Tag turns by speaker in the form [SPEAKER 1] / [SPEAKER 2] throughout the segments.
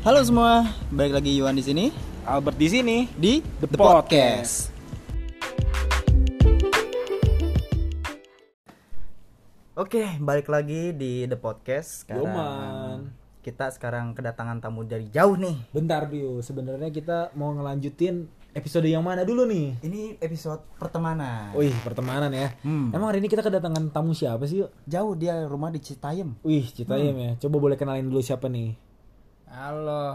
[SPEAKER 1] Halo semua, balik lagi Yuan di sini
[SPEAKER 2] Albert di sini.
[SPEAKER 1] di
[SPEAKER 2] The Podcast.
[SPEAKER 1] Oke, balik lagi di The Podcast. Sekarang
[SPEAKER 2] Yoman.
[SPEAKER 1] kita sekarang kedatangan tamu dari jauh nih.
[SPEAKER 2] Bentar Dio, sebenarnya kita mau ngelanjutin episode yang mana dulu nih?
[SPEAKER 1] Ini episode pertemanan.
[SPEAKER 2] Wih, pertemanan ya.
[SPEAKER 1] Hmm.
[SPEAKER 2] Emang hari ini kita kedatangan tamu siapa sih? yuk?
[SPEAKER 1] Jauh dia rumah di Citayam.
[SPEAKER 2] Wih, Citayam ya. Coba boleh kenalin dulu siapa nih?
[SPEAKER 3] Halo,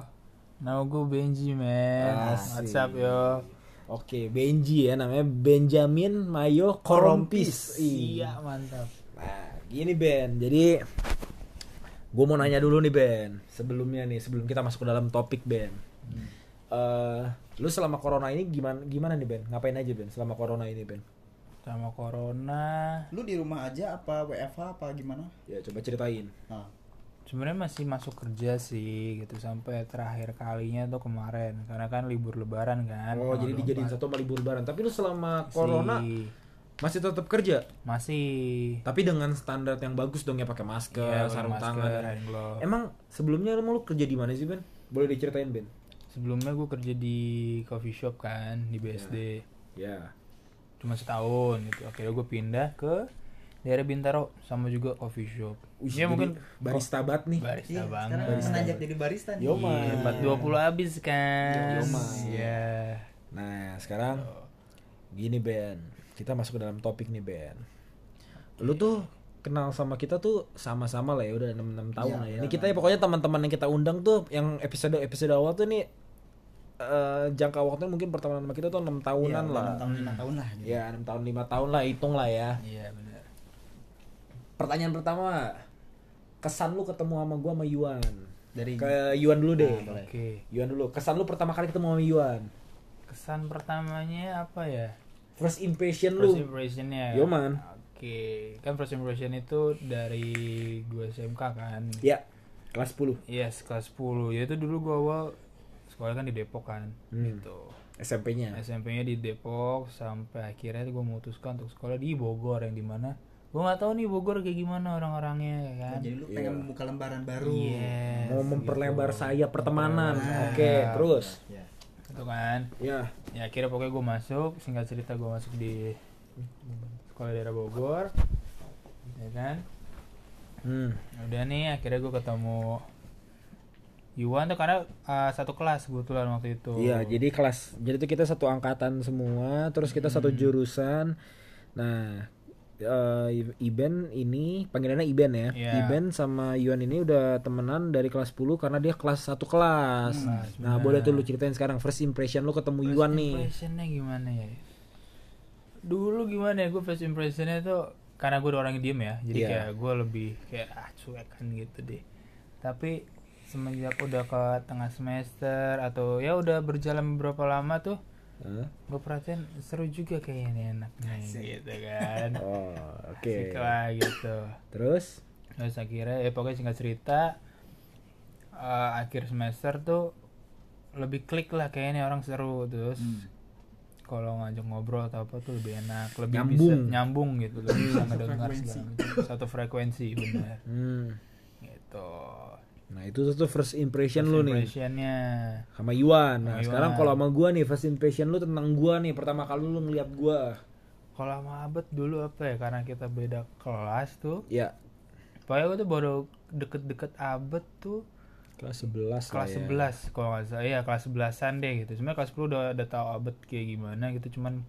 [SPEAKER 3] nama gue Benji
[SPEAKER 1] Eh,
[SPEAKER 3] men
[SPEAKER 2] Asik.
[SPEAKER 3] What's up yo
[SPEAKER 2] Oke, Benji ya namanya Benjamin Mayo Korompis. Ih.
[SPEAKER 3] Iya mantap
[SPEAKER 2] Nah, gini Ben. Jadi gue mau nanya dulu nih Ben. Sebelumnya nih, sebelum kita masuk ke dalam topik Ben. Eh, lu selama corona ini gimana gimana nih Ben? Ngapain aja Ben selama corona ini Ben?
[SPEAKER 3] Sama Corona
[SPEAKER 4] lu di rumah aja apa WFH apa gimana?
[SPEAKER 2] Ya coba ceritain.
[SPEAKER 4] Nah,
[SPEAKER 3] sebenarnya masih masuk kerja sih gitu sampai terakhir kalinya tuh kemarin Karena kan libur lebaran kan
[SPEAKER 2] Oh,
[SPEAKER 3] tanggal
[SPEAKER 2] jadi
[SPEAKER 3] 24.
[SPEAKER 2] dijadiin satu sama libur lebaran. Tapi lu selama
[SPEAKER 3] Masih-
[SPEAKER 2] corona masih tetap kerja,
[SPEAKER 3] Masih
[SPEAKER 2] tapi dengan standar yang bagus dong ya pakai masker,
[SPEAKER 3] Iya, pakai
[SPEAKER 2] sarung
[SPEAKER 3] masker,
[SPEAKER 2] tangan.
[SPEAKER 3] hand glove.
[SPEAKER 2] Emang sebelumnya emang lu kerja di mana sih, Ben? Boleh diceritain, Ben?
[SPEAKER 3] Sebelumnya gue kerja di coffee shop kan
[SPEAKER 2] Iya.
[SPEAKER 3] Di BSD
[SPEAKER 2] Ya.
[SPEAKER 3] Cuma setahun gitu Akhirnya gue pindah ke daerah Bintaro Sama juga coffee shop
[SPEAKER 2] Iya mungkin barista banget nih.
[SPEAKER 1] Iya,
[SPEAKER 3] barista banget
[SPEAKER 4] Iya,
[SPEAKER 3] Iya,
[SPEAKER 4] sekarang menanjak jadi barista nih.
[SPEAKER 2] Yo, Man.
[SPEAKER 3] Empat dua puluh habis
[SPEAKER 2] Yo,
[SPEAKER 3] kan?
[SPEAKER 2] Man.
[SPEAKER 3] Iya.
[SPEAKER 2] Nah, sekarang
[SPEAKER 3] Oh.
[SPEAKER 2] gini Ben, kita masuk ke dalam topik nih Ben. Lu tuh kenal sama kita tuh sama-sama lah ya udah 6 tahun lah ya. Ini kita ya pokoknya teman-teman yang kita undang tuh yang episode episode awal tuh nih eh, jangka waktunya mungkin pertemanan sama kita tuh 6 tahunan
[SPEAKER 1] Iya,
[SPEAKER 2] lah.
[SPEAKER 4] Enam tahun lima tahun lah. Gitu.
[SPEAKER 2] Ya, 6 tahun 5 tahun lah hitung lah ya.
[SPEAKER 3] Iya benar.
[SPEAKER 2] Pertanyaan pertama, kesan lu ketemu sama gua sama Yuan.
[SPEAKER 3] Iya.
[SPEAKER 4] Dari-
[SPEAKER 1] Kan.
[SPEAKER 2] ke Yuan dulu deh.
[SPEAKER 3] Oke.
[SPEAKER 2] Yuan dulu. Kesan lu pertama kali ketemu sama Yuan.
[SPEAKER 3] Kesan pertamanya apa ya?
[SPEAKER 2] First impression
[SPEAKER 3] First
[SPEAKER 2] lu.
[SPEAKER 3] impressionnya.
[SPEAKER 2] Yo, man.
[SPEAKER 3] ya? Oke, kan first impression itu dari gue SMK kan.
[SPEAKER 2] Ya. Kelas 10
[SPEAKER 3] Yes, kelas 10. Ya itu dulu gue awal sekolah kan di Depok kan.
[SPEAKER 2] Hmm.
[SPEAKER 3] Gitu.
[SPEAKER 2] SMP-nya.
[SPEAKER 3] SMP-nya di Depok sampai akhirnya gue memutuskan untuk sekolah di Bogor yang dimana gue nggak tahu nih Bogor kayak gimana orang-orangnya ya kan.
[SPEAKER 4] Jadi lu pengen membuka lembaran baru.
[SPEAKER 1] Iya.
[SPEAKER 3] Yes,
[SPEAKER 2] mau memperlebar
[SPEAKER 3] gitu.
[SPEAKER 2] sayap pertemanan.
[SPEAKER 3] Memperlebar
[SPEAKER 2] Oke,
[SPEAKER 3] sayap.
[SPEAKER 2] terus.
[SPEAKER 4] Ya.
[SPEAKER 3] Gitu kan.
[SPEAKER 2] Ya.
[SPEAKER 3] ya akhirnya pokoknya gue masuk singkat cerita gue masuk di sekolah daerah Bogor ya kan
[SPEAKER 2] Hmm.
[SPEAKER 3] udah nih akhirnya gue ketemu Yuan tuh karena uh, satu kelas kebetulan waktu itu
[SPEAKER 2] Iya, jadi kelas. Jadi tuh kita satu angkatan semua, terus kita satu jurusan. Nah, eh, Iben ini panggilannya Iben ya.
[SPEAKER 3] Iya.
[SPEAKER 2] Iben sama Yuan ini udah temenan dari kelas 10 karena dia kelas satu kelas. nah, boleh tuh lu ceritain sekarang first impression lu ketemu Yuan nih.
[SPEAKER 3] impressionnya gimana ya dulu gimana ya gue first impressionnya tuh karena gue orangnya diem ya jadi
[SPEAKER 2] Iya.
[SPEAKER 3] kayak gue lebih kayak ah cuekan gitu deh tapi semenjak udah ke tengah semester atau ya udah berjalan beberapa lama tuh
[SPEAKER 2] Hah?
[SPEAKER 3] gue perhatiin seru juga kayaknya ini enak nih gitu kan
[SPEAKER 2] Oh, oke.
[SPEAKER 3] Asik lah gitu
[SPEAKER 2] Terus
[SPEAKER 3] terus akhirnya ya pokoknya singkat cerita eh, akhir semester tuh lebih klik lah kayaknya orang seru terus
[SPEAKER 2] Hmm.
[SPEAKER 3] kalau ngajak ngobrol atau apa tuh lebih enak lebih
[SPEAKER 2] Nyambung. Iya,
[SPEAKER 3] bisa nyambung gitu lebih bisa ngedengar segala macam. satu frekuensi benar
[SPEAKER 2] hmm.
[SPEAKER 3] gitu
[SPEAKER 2] Nah, itu tuh first impression lu nih.
[SPEAKER 3] impressionnya
[SPEAKER 2] sama Iwan. Nah,
[SPEAKER 3] Sama
[SPEAKER 2] sekarang
[SPEAKER 3] Iwan.
[SPEAKER 2] kalau sama gua nih first impression lu tentang gua nih pertama kali lu ngeliat gua.
[SPEAKER 3] kalau sama Abed dulu apa ya karena kita beda kelas tuh
[SPEAKER 2] Ya,
[SPEAKER 3] Pokoknya gue tuh baru deket-deket abet tuh
[SPEAKER 2] kelas 11 lah
[SPEAKER 3] kelas
[SPEAKER 2] ya.
[SPEAKER 3] 11 kalau nggak salah iya kelas 11-an deh gitu. Sebenarnya kelas 10 udah udah tahu abet kayak gimana gitu cuman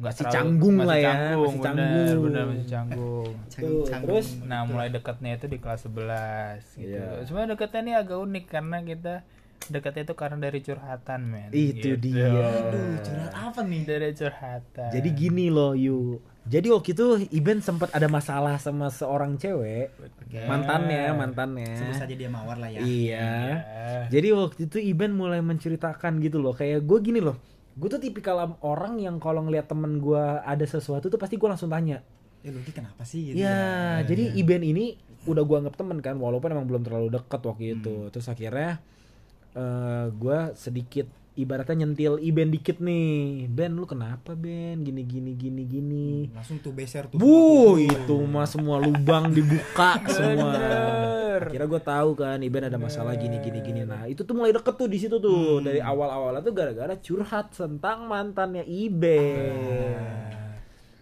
[SPEAKER 3] nggak
[SPEAKER 2] Masih
[SPEAKER 3] terlalu-
[SPEAKER 2] canggung
[SPEAKER 3] masih
[SPEAKER 2] lah ya,
[SPEAKER 3] Canggung,
[SPEAKER 2] masih
[SPEAKER 3] bener,
[SPEAKER 2] canggung.
[SPEAKER 3] bener, masih canggung.
[SPEAKER 2] Tuh, terus
[SPEAKER 3] Nah, mulai dekatnya itu di kelas 11 gitu.
[SPEAKER 2] Iya.
[SPEAKER 3] Sebenarnya dekatnya ini agak unik karena kita dekatnya itu karena dari curhatan, men.
[SPEAKER 2] itu
[SPEAKER 3] Gitu.
[SPEAKER 2] dia. Eh.
[SPEAKER 4] Apa nih?
[SPEAKER 3] Dari curhatan.
[SPEAKER 2] Jadi gini loh, Yu. Jadi waktu itu Iben sempat ada masalah sama seorang cewek. Mantannya, mantannya.
[SPEAKER 4] Sebut saja dia mawar lah ya.
[SPEAKER 2] Iya. Jadi waktu itu Iben mulai menceritakan gitu loh, kayak gue gini loh. Gue tuh tipikal orang yang kalau ngeliat temen gue ada sesuatu tuh pasti gue langsung tanya.
[SPEAKER 4] Eh lu Ki, kenapa sih? Gitu.
[SPEAKER 2] Iya, jadi Iben ini udah gua anggap temen kan, walaupun emang belum terlalu deket waktu itu. Terus akhirnya eh gua sedikit ibaratnya nyentil Iben dikit nih. Ben lu kenapa Ben? Gini gini gini gini.
[SPEAKER 4] Langsung tuh Iya, beser tuh.
[SPEAKER 2] Bu, itu mah semua lubang dibuka semua.
[SPEAKER 3] bener
[SPEAKER 2] Akhirnya gue tahu kan Iben ada masalah gini gini gini. Nah itu tuh mulai deket tuh di situ tuh dari awal awalnya tuh gara-gara curhat tentang mantannya Iben.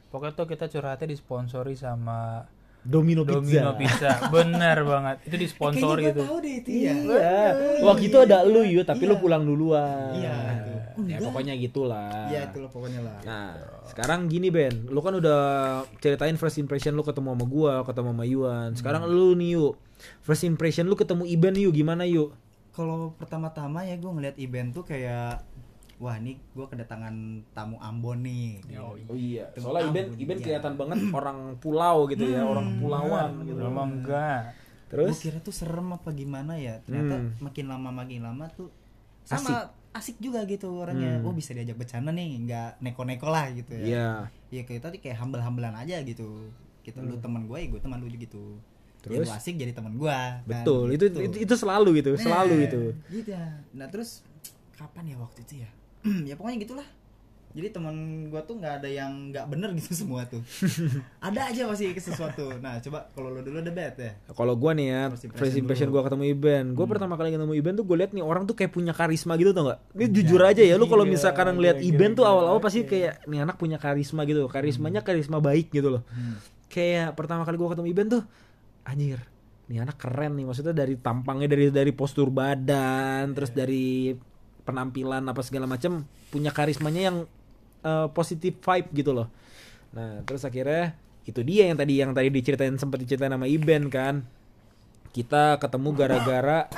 [SPEAKER 3] pokoknya tuh kita curhatnya disponsori sama
[SPEAKER 2] Domino, Pizza.
[SPEAKER 3] Domino Pizza bener banget itu disponsor
[SPEAKER 4] Kayaknya gue
[SPEAKER 3] gitu
[SPEAKER 4] tahu deh itu ya.
[SPEAKER 2] Iya. Waktu itu ada lu yuk, tapi lu
[SPEAKER 4] Iya.
[SPEAKER 2] pulang duluan.
[SPEAKER 4] Iya, tuh.
[SPEAKER 2] Ya pokoknya gitulah.
[SPEAKER 4] Iya itu loh pokoknya lah.
[SPEAKER 2] Nah, sekarang gini Ben, lu kan udah ceritain first impression lu ketemu sama gua, ketemu sama Yuan. Sekarang lu nih yuk, first impression lu ketemu Iben yuk, gimana yuk?
[SPEAKER 4] Kalau pertama-tama ya gue ngeliat event tuh kayak wah ini gue kedatangan tamu Ambon nih.
[SPEAKER 2] Oh iya,
[SPEAKER 4] Tentang
[SPEAKER 2] soalnya Iben,
[SPEAKER 4] budaya.
[SPEAKER 2] Iben kelihatan banget orang pulau gitu ya, orang pulauan gitu.
[SPEAKER 3] Lama Hmm, enggak
[SPEAKER 2] Terus Hmm.
[SPEAKER 4] Gue kira tuh serem apa gimana ya. Ternyata makin lama makin lama tuh sama asik, juga gitu orangnya. Oh bisa diajak bercanda nih, nggak neko-neko lah gitu ya.
[SPEAKER 2] Hmm.
[SPEAKER 4] ya
[SPEAKER 2] Iya.
[SPEAKER 4] kita tuh kayak humble-humbelan aja gitu kita lu teman gue ya gue teman lu gitu
[SPEAKER 2] Hmm.
[SPEAKER 4] terus
[SPEAKER 2] Terus?
[SPEAKER 4] ya, lu asik jadi teman gue
[SPEAKER 2] betul, itu, itu itu selalu gitu, selalu itu.
[SPEAKER 4] Nah, gitu ya. nah terus kapan ya waktu itu ya ya pokoknya gitulah jadi teman gue tuh nggak ada yang nggak bener gitu semua tuh ada aja masih sesuatu nah coba kalau lu dulu debet ya
[SPEAKER 2] Kalau gua nih ya,
[SPEAKER 4] First
[SPEAKER 2] first
[SPEAKER 4] impression
[SPEAKER 2] impression, gua ketemu Iben. Gua pertama kali ketemu Iben tuh gue liat nih orang tuh kayak punya karisma gitu tau nggak? Ini jujur aja ya, lu kalau
[SPEAKER 3] Iya,
[SPEAKER 2] misalkan ngeliat
[SPEAKER 3] gila,
[SPEAKER 2] Iben tuh
[SPEAKER 3] gila,
[SPEAKER 2] awal-awal pasti kayak nih anak punya karisma gitu. Karismanya karisma baik gitu loh. Kayak pertama kali gua ketemu Iben tuh anjir. Nih anak keren nih maksudnya dari tampangnya dari dari postur badan, terus dari penampilan apa segala macem punya karismanya yang eh, positive vibe gitu loh. Nah, terus akhirnya itu dia yang tadi yang tadi diceritain sempat diceritain sama Iben kan. Kita ketemu gara-gara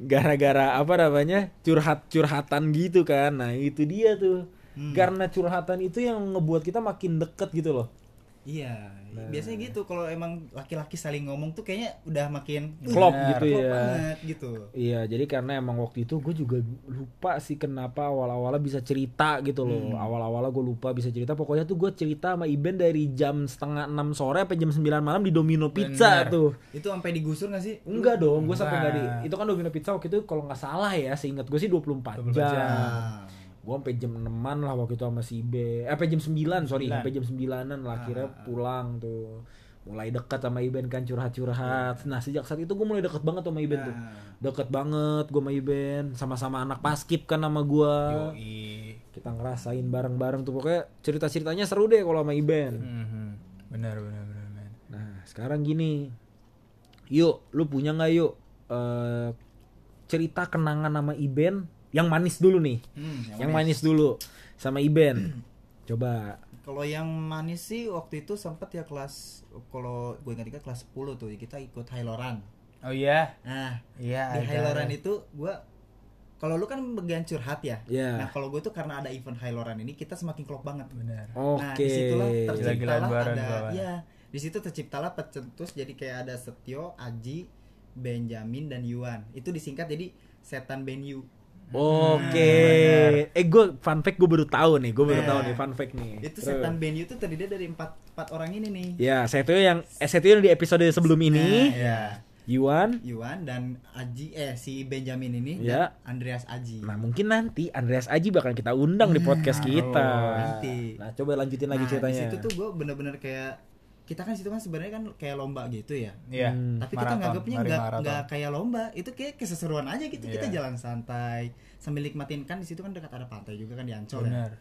[SPEAKER 2] gara-gara apa namanya? curhat-curhatan gitu kan. Nah, itu dia tuh. Karena curhatan itu yang ngebuat kita makin deket gitu loh.
[SPEAKER 4] iya
[SPEAKER 2] Nah.
[SPEAKER 4] biasanya gitu kalau emang laki-laki saling ngomong tuh kayaknya udah makin
[SPEAKER 2] Klop
[SPEAKER 4] Bener,
[SPEAKER 2] gitu
[SPEAKER 4] klop
[SPEAKER 2] ya.
[SPEAKER 4] banget gitu
[SPEAKER 2] Iya, jadi karena emang waktu itu gue juga lupa sih kenapa awal-awalnya bisa cerita gitu
[SPEAKER 3] Hmm.
[SPEAKER 2] loh. Awal-awalnya gue lupa bisa cerita. Pokoknya tuh gue cerita sama Iben dari jam setengah enam sore sampai jam 9 malam di Domino Pizza
[SPEAKER 3] Bener.
[SPEAKER 2] tuh.
[SPEAKER 4] itu sampai digusur gak sih
[SPEAKER 2] Enggak dong, gue sampai
[SPEAKER 3] Nah.
[SPEAKER 2] enggak di. Itu kan Domino Pizza waktu itu kalau nggak salah ya, seingat gue sih 24,
[SPEAKER 3] 24
[SPEAKER 2] jam.
[SPEAKER 3] jam.
[SPEAKER 4] Ah.
[SPEAKER 2] Gue sampai jam 6-an lah waktu itu sama si Ibe. Eh, sampai jam 9, sorry,
[SPEAKER 3] 9.
[SPEAKER 2] sampai jam 9-an lah akhirnya
[SPEAKER 3] Ah.
[SPEAKER 2] pulang tuh. Mulai dekat sama Iben kan
[SPEAKER 3] Iya.
[SPEAKER 2] curhat-curhat. Nah, sejak saat itu gue mulai dekat banget sama
[SPEAKER 3] Nah.
[SPEAKER 2] Iben tuh. Deket banget gue sama Iben, sama-sama anak paskip kan sama gue.
[SPEAKER 3] Yoi.
[SPEAKER 2] Kita ngerasain bareng-bareng tuh pokoknya cerita-ceritanya seru deh kalau sama Iben.
[SPEAKER 4] Hmm.
[SPEAKER 3] Mhm. bener bener bener men.
[SPEAKER 2] Nah, sekarang gini. Yuk, lu punya nggak yuk eh, cerita kenangan sama Iben yang manis dulu nih. Hmm, yang, manis. dulu sama Iben. Coba.
[SPEAKER 4] Kalau yang manis sih waktu itu sempet ya kelas kalau gue ingat-ingat kelas 10 tuh kita ikut Hailoran.
[SPEAKER 3] oh iya
[SPEAKER 4] Nah,
[SPEAKER 3] iya
[SPEAKER 4] di
[SPEAKER 3] ada.
[SPEAKER 4] Hailoran itu gue kalau lu kan bagian curhat ya.
[SPEAKER 2] Iya.
[SPEAKER 4] Nah, kalau gue tuh karena ada event Hailoran ini kita semakin klop banget.
[SPEAKER 3] bener
[SPEAKER 4] Nah,
[SPEAKER 2] Oke.
[SPEAKER 4] disitulah
[SPEAKER 3] Gila-gilaan
[SPEAKER 4] terciptalah
[SPEAKER 3] bareng,
[SPEAKER 4] ada
[SPEAKER 3] kawan.
[SPEAKER 4] ya, di situ terciptalah pecetus jadi kayak ada Setio, Aji, Benjamin dan Yuan. Itu disingkat jadi Setan Benyu.
[SPEAKER 2] Oke. Eh gue fun fact gue baru tahu nih, gue baru
[SPEAKER 4] Hmm, Nah.
[SPEAKER 2] tahu nih fun fact nih.
[SPEAKER 4] Itu
[SPEAKER 2] Terus.
[SPEAKER 4] Setan Benyu itu terdiri dari empat empat orang ini nih.
[SPEAKER 2] Ya, saya tuh yang eh, saya tuh yang di episode sebelum ini.
[SPEAKER 4] Nah, iya.
[SPEAKER 2] Yuan.
[SPEAKER 4] Yuan dan Aji eh si Benjamin ini
[SPEAKER 2] Ya.
[SPEAKER 4] dan Andreas Aji.
[SPEAKER 2] Nah, mungkin nanti Andreas Aji bakal kita undang di podcast kita.
[SPEAKER 4] Iya, oh, nanti.
[SPEAKER 2] Nah, coba lanjutin lagi
[SPEAKER 4] Nah,
[SPEAKER 2] ceritanya.
[SPEAKER 4] Di situ tuh gue bener-bener kayak kita kan situ kan sebenarnya kan kayak lomba gitu ya.
[SPEAKER 3] iya
[SPEAKER 2] Hmm,
[SPEAKER 4] Tapi kita
[SPEAKER 3] Maraton,
[SPEAKER 4] nganggapnya
[SPEAKER 3] lari
[SPEAKER 4] nggak
[SPEAKER 3] maraton.
[SPEAKER 4] nggak kayak lomba, itu kayak keseseruan aja gitu. Kita
[SPEAKER 3] Iya.
[SPEAKER 4] jalan santai sambil nikmatin kan di situ kan dekat ada pantai juga kan di Ancol ya.
[SPEAKER 3] bener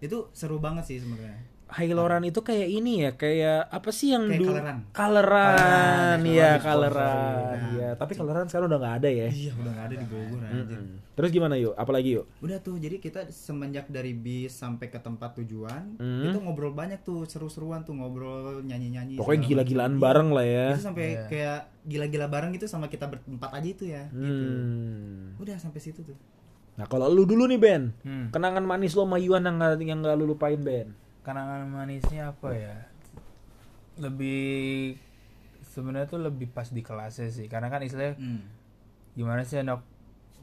[SPEAKER 4] Itu seru banget sih sebenarnya.
[SPEAKER 2] Hailoran itu kayak ini ya, kayak apa sih yang
[SPEAKER 4] Kayak ya,
[SPEAKER 2] dulu-
[SPEAKER 4] coloran.
[SPEAKER 2] Coloran, iya
[SPEAKER 3] coloran
[SPEAKER 2] coloran.
[SPEAKER 4] disponsori.
[SPEAKER 2] Iya, tapi coloran sekarang udah nggak ada ya.
[SPEAKER 4] Nah, Iya, udah nggak ada di Bogor
[SPEAKER 2] Hmm.
[SPEAKER 4] anjir.
[SPEAKER 2] Terus gimana yuk? Apalagi yuk?
[SPEAKER 4] Udah tuh, jadi kita semenjak dari bis sampai ke tempat tujuan,
[SPEAKER 2] Hmm.
[SPEAKER 4] itu ngobrol banyak tuh, seru-seruan tuh ngobrol, nyanyi-nyanyi.
[SPEAKER 2] Pokoknya
[SPEAKER 4] segala
[SPEAKER 2] gila-gilaan
[SPEAKER 4] macam.
[SPEAKER 2] bareng lah ya.
[SPEAKER 4] itu sampai kayak gila-gila bareng gitu sama kita berempat aja itu ya gitu
[SPEAKER 2] Hmm.
[SPEAKER 4] udah sampai situ tuh
[SPEAKER 2] Nah, kalau lu dulu nih Ben,
[SPEAKER 3] Hmm.
[SPEAKER 2] kenangan manis lo sama Yuan yang nggak yang nggak lu lupain Ben.
[SPEAKER 3] kenangan manisnya apa ya lebih sebenarnya tuh lebih pas di kelasnya sih karena kan istilahnya
[SPEAKER 4] Hmm.
[SPEAKER 3] gimana sih anak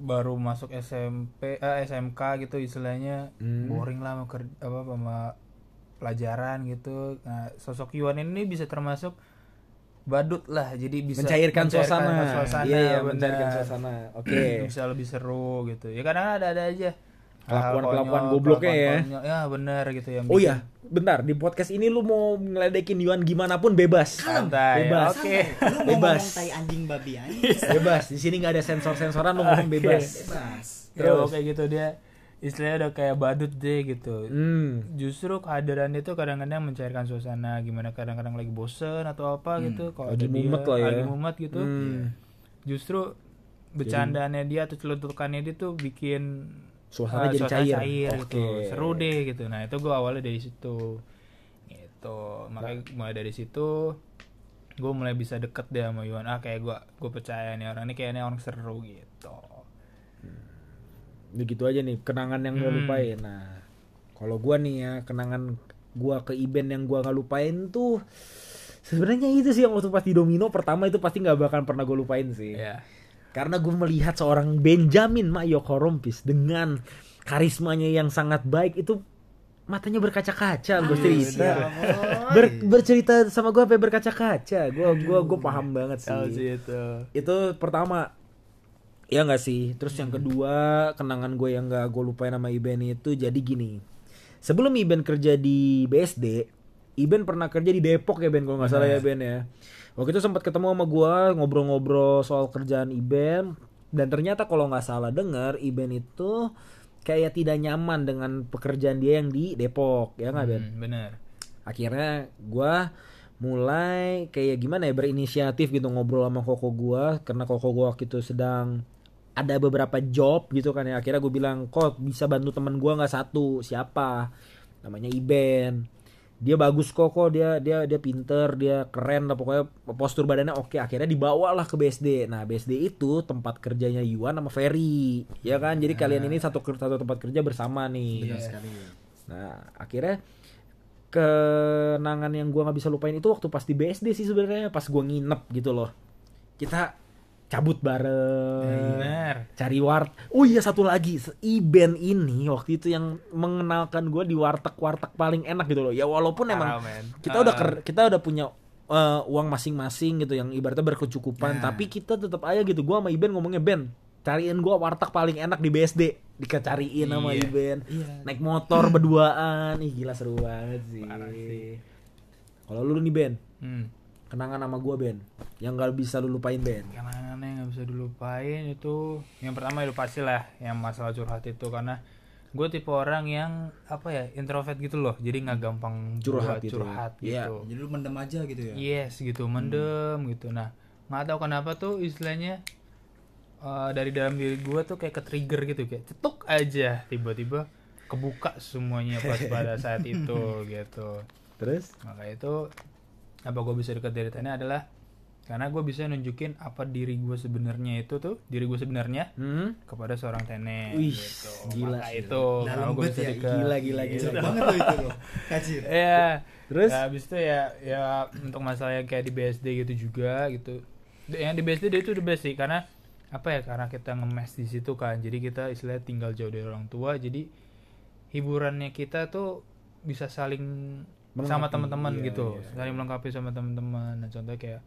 [SPEAKER 3] baru masuk SMP eh, SMK gitu istilahnya
[SPEAKER 2] Hmm.
[SPEAKER 3] boring lah sama ker- apa sama pelajaran gitu nah sosok Yuan ini bisa termasuk badut lah jadi bisa
[SPEAKER 2] Mencairkan, suasana.
[SPEAKER 3] suasana,
[SPEAKER 2] Iya, iya,
[SPEAKER 3] benar.
[SPEAKER 2] mencairkan suasana. Oke.
[SPEAKER 3] bisa lebih seru gitu ya kadang ada ada aja
[SPEAKER 2] Kelakuan-kelakuan gobloknya ya.
[SPEAKER 3] kelakuan-kelakuannya. ya bener gitu ya
[SPEAKER 2] Oh iya, bentar di podcast ini lu mau ngeledekin Yuan gimana pun bebas.
[SPEAKER 3] santai
[SPEAKER 2] Bebas.
[SPEAKER 3] oke
[SPEAKER 4] Lu mau
[SPEAKER 2] Bebas.
[SPEAKER 4] ngomong tai anjing babi anjing
[SPEAKER 2] bebas. Di sini nggak ada sensor-sensoran lu ngomong
[SPEAKER 3] Oke.
[SPEAKER 2] bebas.
[SPEAKER 4] bebas.
[SPEAKER 3] ya kayak gitu dia istilahnya udah kayak badut deh gitu
[SPEAKER 2] Hmm.
[SPEAKER 3] justru kehadiran itu kadang-kadang mencairkan suasana gimana kadang-kadang lagi bosen atau apa gitu
[SPEAKER 2] Hmm,
[SPEAKER 3] kalau
[SPEAKER 2] Lagi
[SPEAKER 3] ada dia,
[SPEAKER 2] mumet lah ya.
[SPEAKER 3] lagi mumet gitu
[SPEAKER 2] Hmm.
[SPEAKER 3] justru bercandaannya dia atau celutukannya dia tuh bikin
[SPEAKER 2] Suasana
[SPEAKER 3] eh,
[SPEAKER 2] jadi cair.
[SPEAKER 3] gitu
[SPEAKER 2] Oke.
[SPEAKER 3] seru deh gitu nah itu gue awalnya dari situ gitu makanya
[SPEAKER 2] Nah.
[SPEAKER 3] mulai dari situ gue mulai bisa deket deh sama Yuan ah kayak gue gue percaya nih orang ini kayaknya orang seru gitu
[SPEAKER 2] Begitu aja nih kenangan yang gak
[SPEAKER 3] Hmm.
[SPEAKER 2] lupain. Nah, kalau gua nih ya kenangan gua ke event yang gua nggak lupain tuh sebenarnya itu sih yang waktu pas di domino pertama itu pasti nggak bakal pernah gue lupain sih.
[SPEAKER 3] ya
[SPEAKER 2] Karena gue melihat seorang Benjamin Mayoko Rompis dengan karismanya yang sangat baik itu matanya berkaca-kaca gue
[SPEAKER 4] Ah, Iya, ya
[SPEAKER 2] cerita. Ber- bercerita sama gue sampai berkaca-kaca. Gue gua gua paham banget sih.
[SPEAKER 3] itu
[SPEAKER 2] Itu pertama. Ya nggak sih. Terus yang kedua kenangan gue yang nggak gue lupain sama Iben itu jadi gini. Sebelum Iben kerja di BSD, Iben pernah kerja di Depok ya Ben kalau nggak salah ya Ben ya. Waktu itu sempat ketemu sama gue ngobrol-ngobrol soal kerjaan Iben dan ternyata kalau nggak salah dengar Iben itu kayak tidak nyaman dengan pekerjaan dia yang di Depok ya nggak Ben?
[SPEAKER 3] Hmm, bener
[SPEAKER 2] akhirnya gua mulai kayak gimana ya berinisiatif gitu ngobrol sama koko gua karena koko gua waktu itu sedang ada beberapa job gitu kan ya akhirnya gue bilang kok bisa bantu teman gua nggak satu siapa namanya Iben dia bagus kok kok dia dia dia pinter dia keren lah pokoknya postur badannya oke akhirnya dibawalah ke BSD nah BSD itu tempat kerjanya Yuan sama Ferry ya kan jadi kalian ini satu ker- satu tempat kerja bersama nih
[SPEAKER 4] Benar sekali.
[SPEAKER 2] Nah, akhirnya kenangan yang gua nggak bisa lupain itu waktu pas di BSD sih sebenarnya pas gua nginep gitu loh. Kita cabut Eh. bareng.
[SPEAKER 3] bener
[SPEAKER 2] Cari wart. Oh iya satu lagi, se- Iben ini waktu itu yang mengenalkan gua di warteg-warteg paling enak gitu loh. Ya walaupun emang
[SPEAKER 3] Parah, men.
[SPEAKER 2] kita udah ker- kita udah punya eh, uang masing-masing gitu yang ibaratnya berkecukupan,
[SPEAKER 3] Nah.
[SPEAKER 2] tapi kita tetap aja gitu. Gua sama Iben ngomongnya Ben, cariin gua warteg paling enak di BSD. Dikecariin sama
[SPEAKER 3] Iya.
[SPEAKER 2] Iben naik motor berduaan ih gila seru banget sih, kalau lu nih Ben
[SPEAKER 3] Hmm.
[SPEAKER 2] kenangan sama gua Ben yang gak bisa lu lupain Ben
[SPEAKER 3] kenangannya yang nggak bisa dilupain itu yang pertama itu pasti lah yang masalah curhat itu karena gue tipe orang yang apa ya introvert gitu loh jadi nggak
[SPEAKER 2] Hmm.
[SPEAKER 3] gampang
[SPEAKER 2] Curhat
[SPEAKER 3] buat
[SPEAKER 2] gitu
[SPEAKER 3] curhat
[SPEAKER 2] ya. Iya. Hmm.
[SPEAKER 3] gitu
[SPEAKER 4] Jadi lu mendem aja gitu ya.
[SPEAKER 3] yes gitu mendem gitu nah nggak tahu kenapa tuh istilahnya eh, dari dalam diri gue tuh kayak ke trigger gitu kayak cetuk aja tiba-tiba kebuka semuanya pas pada saat itu gitu
[SPEAKER 2] terus
[SPEAKER 3] maka itu apa gue bisa dekat dari Tania adalah karena gue bisa nunjukin apa diri gue sebenarnya itu tuh diri gue sebenarnya
[SPEAKER 2] hmm?
[SPEAKER 3] kepada seorang Tene
[SPEAKER 2] Wih,
[SPEAKER 3] gitu.
[SPEAKER 2] gila
[SPEAKER 3] Maka
[SPEAKER 2] sih.
[SPEAKER 3] itu
[SPEAKER 4] Dalam
[SPEAKER 3] kenapa gue
[SPEAKER 4] bet
[SPEAKER 3] bisa
[SPEAKER 4] ya,
[SPEAKER 3] dekat
[SPEAKER 2] gila gila gila Eh.
[SPEAKER 4] Jelek banget lo itu lo. Kacir.
[SPEAKER 3] Iya.
[SPEAKER 2] Terus?
[SPEAKER 3] Ya, habis itu ya ya untuk masalah yang kayak di BSD gitu juga gitu. Yang di BSD dia itu the best sih karena apa ya karena kita ngemes di situ kan. Jadi kita istilahnya tinggal jauh dari orang tua. Jadi hiburannya kita tuh bisa saling sama teman-teman gitu. Saling melengkapi sama teman-teman. Nah, contoh kayak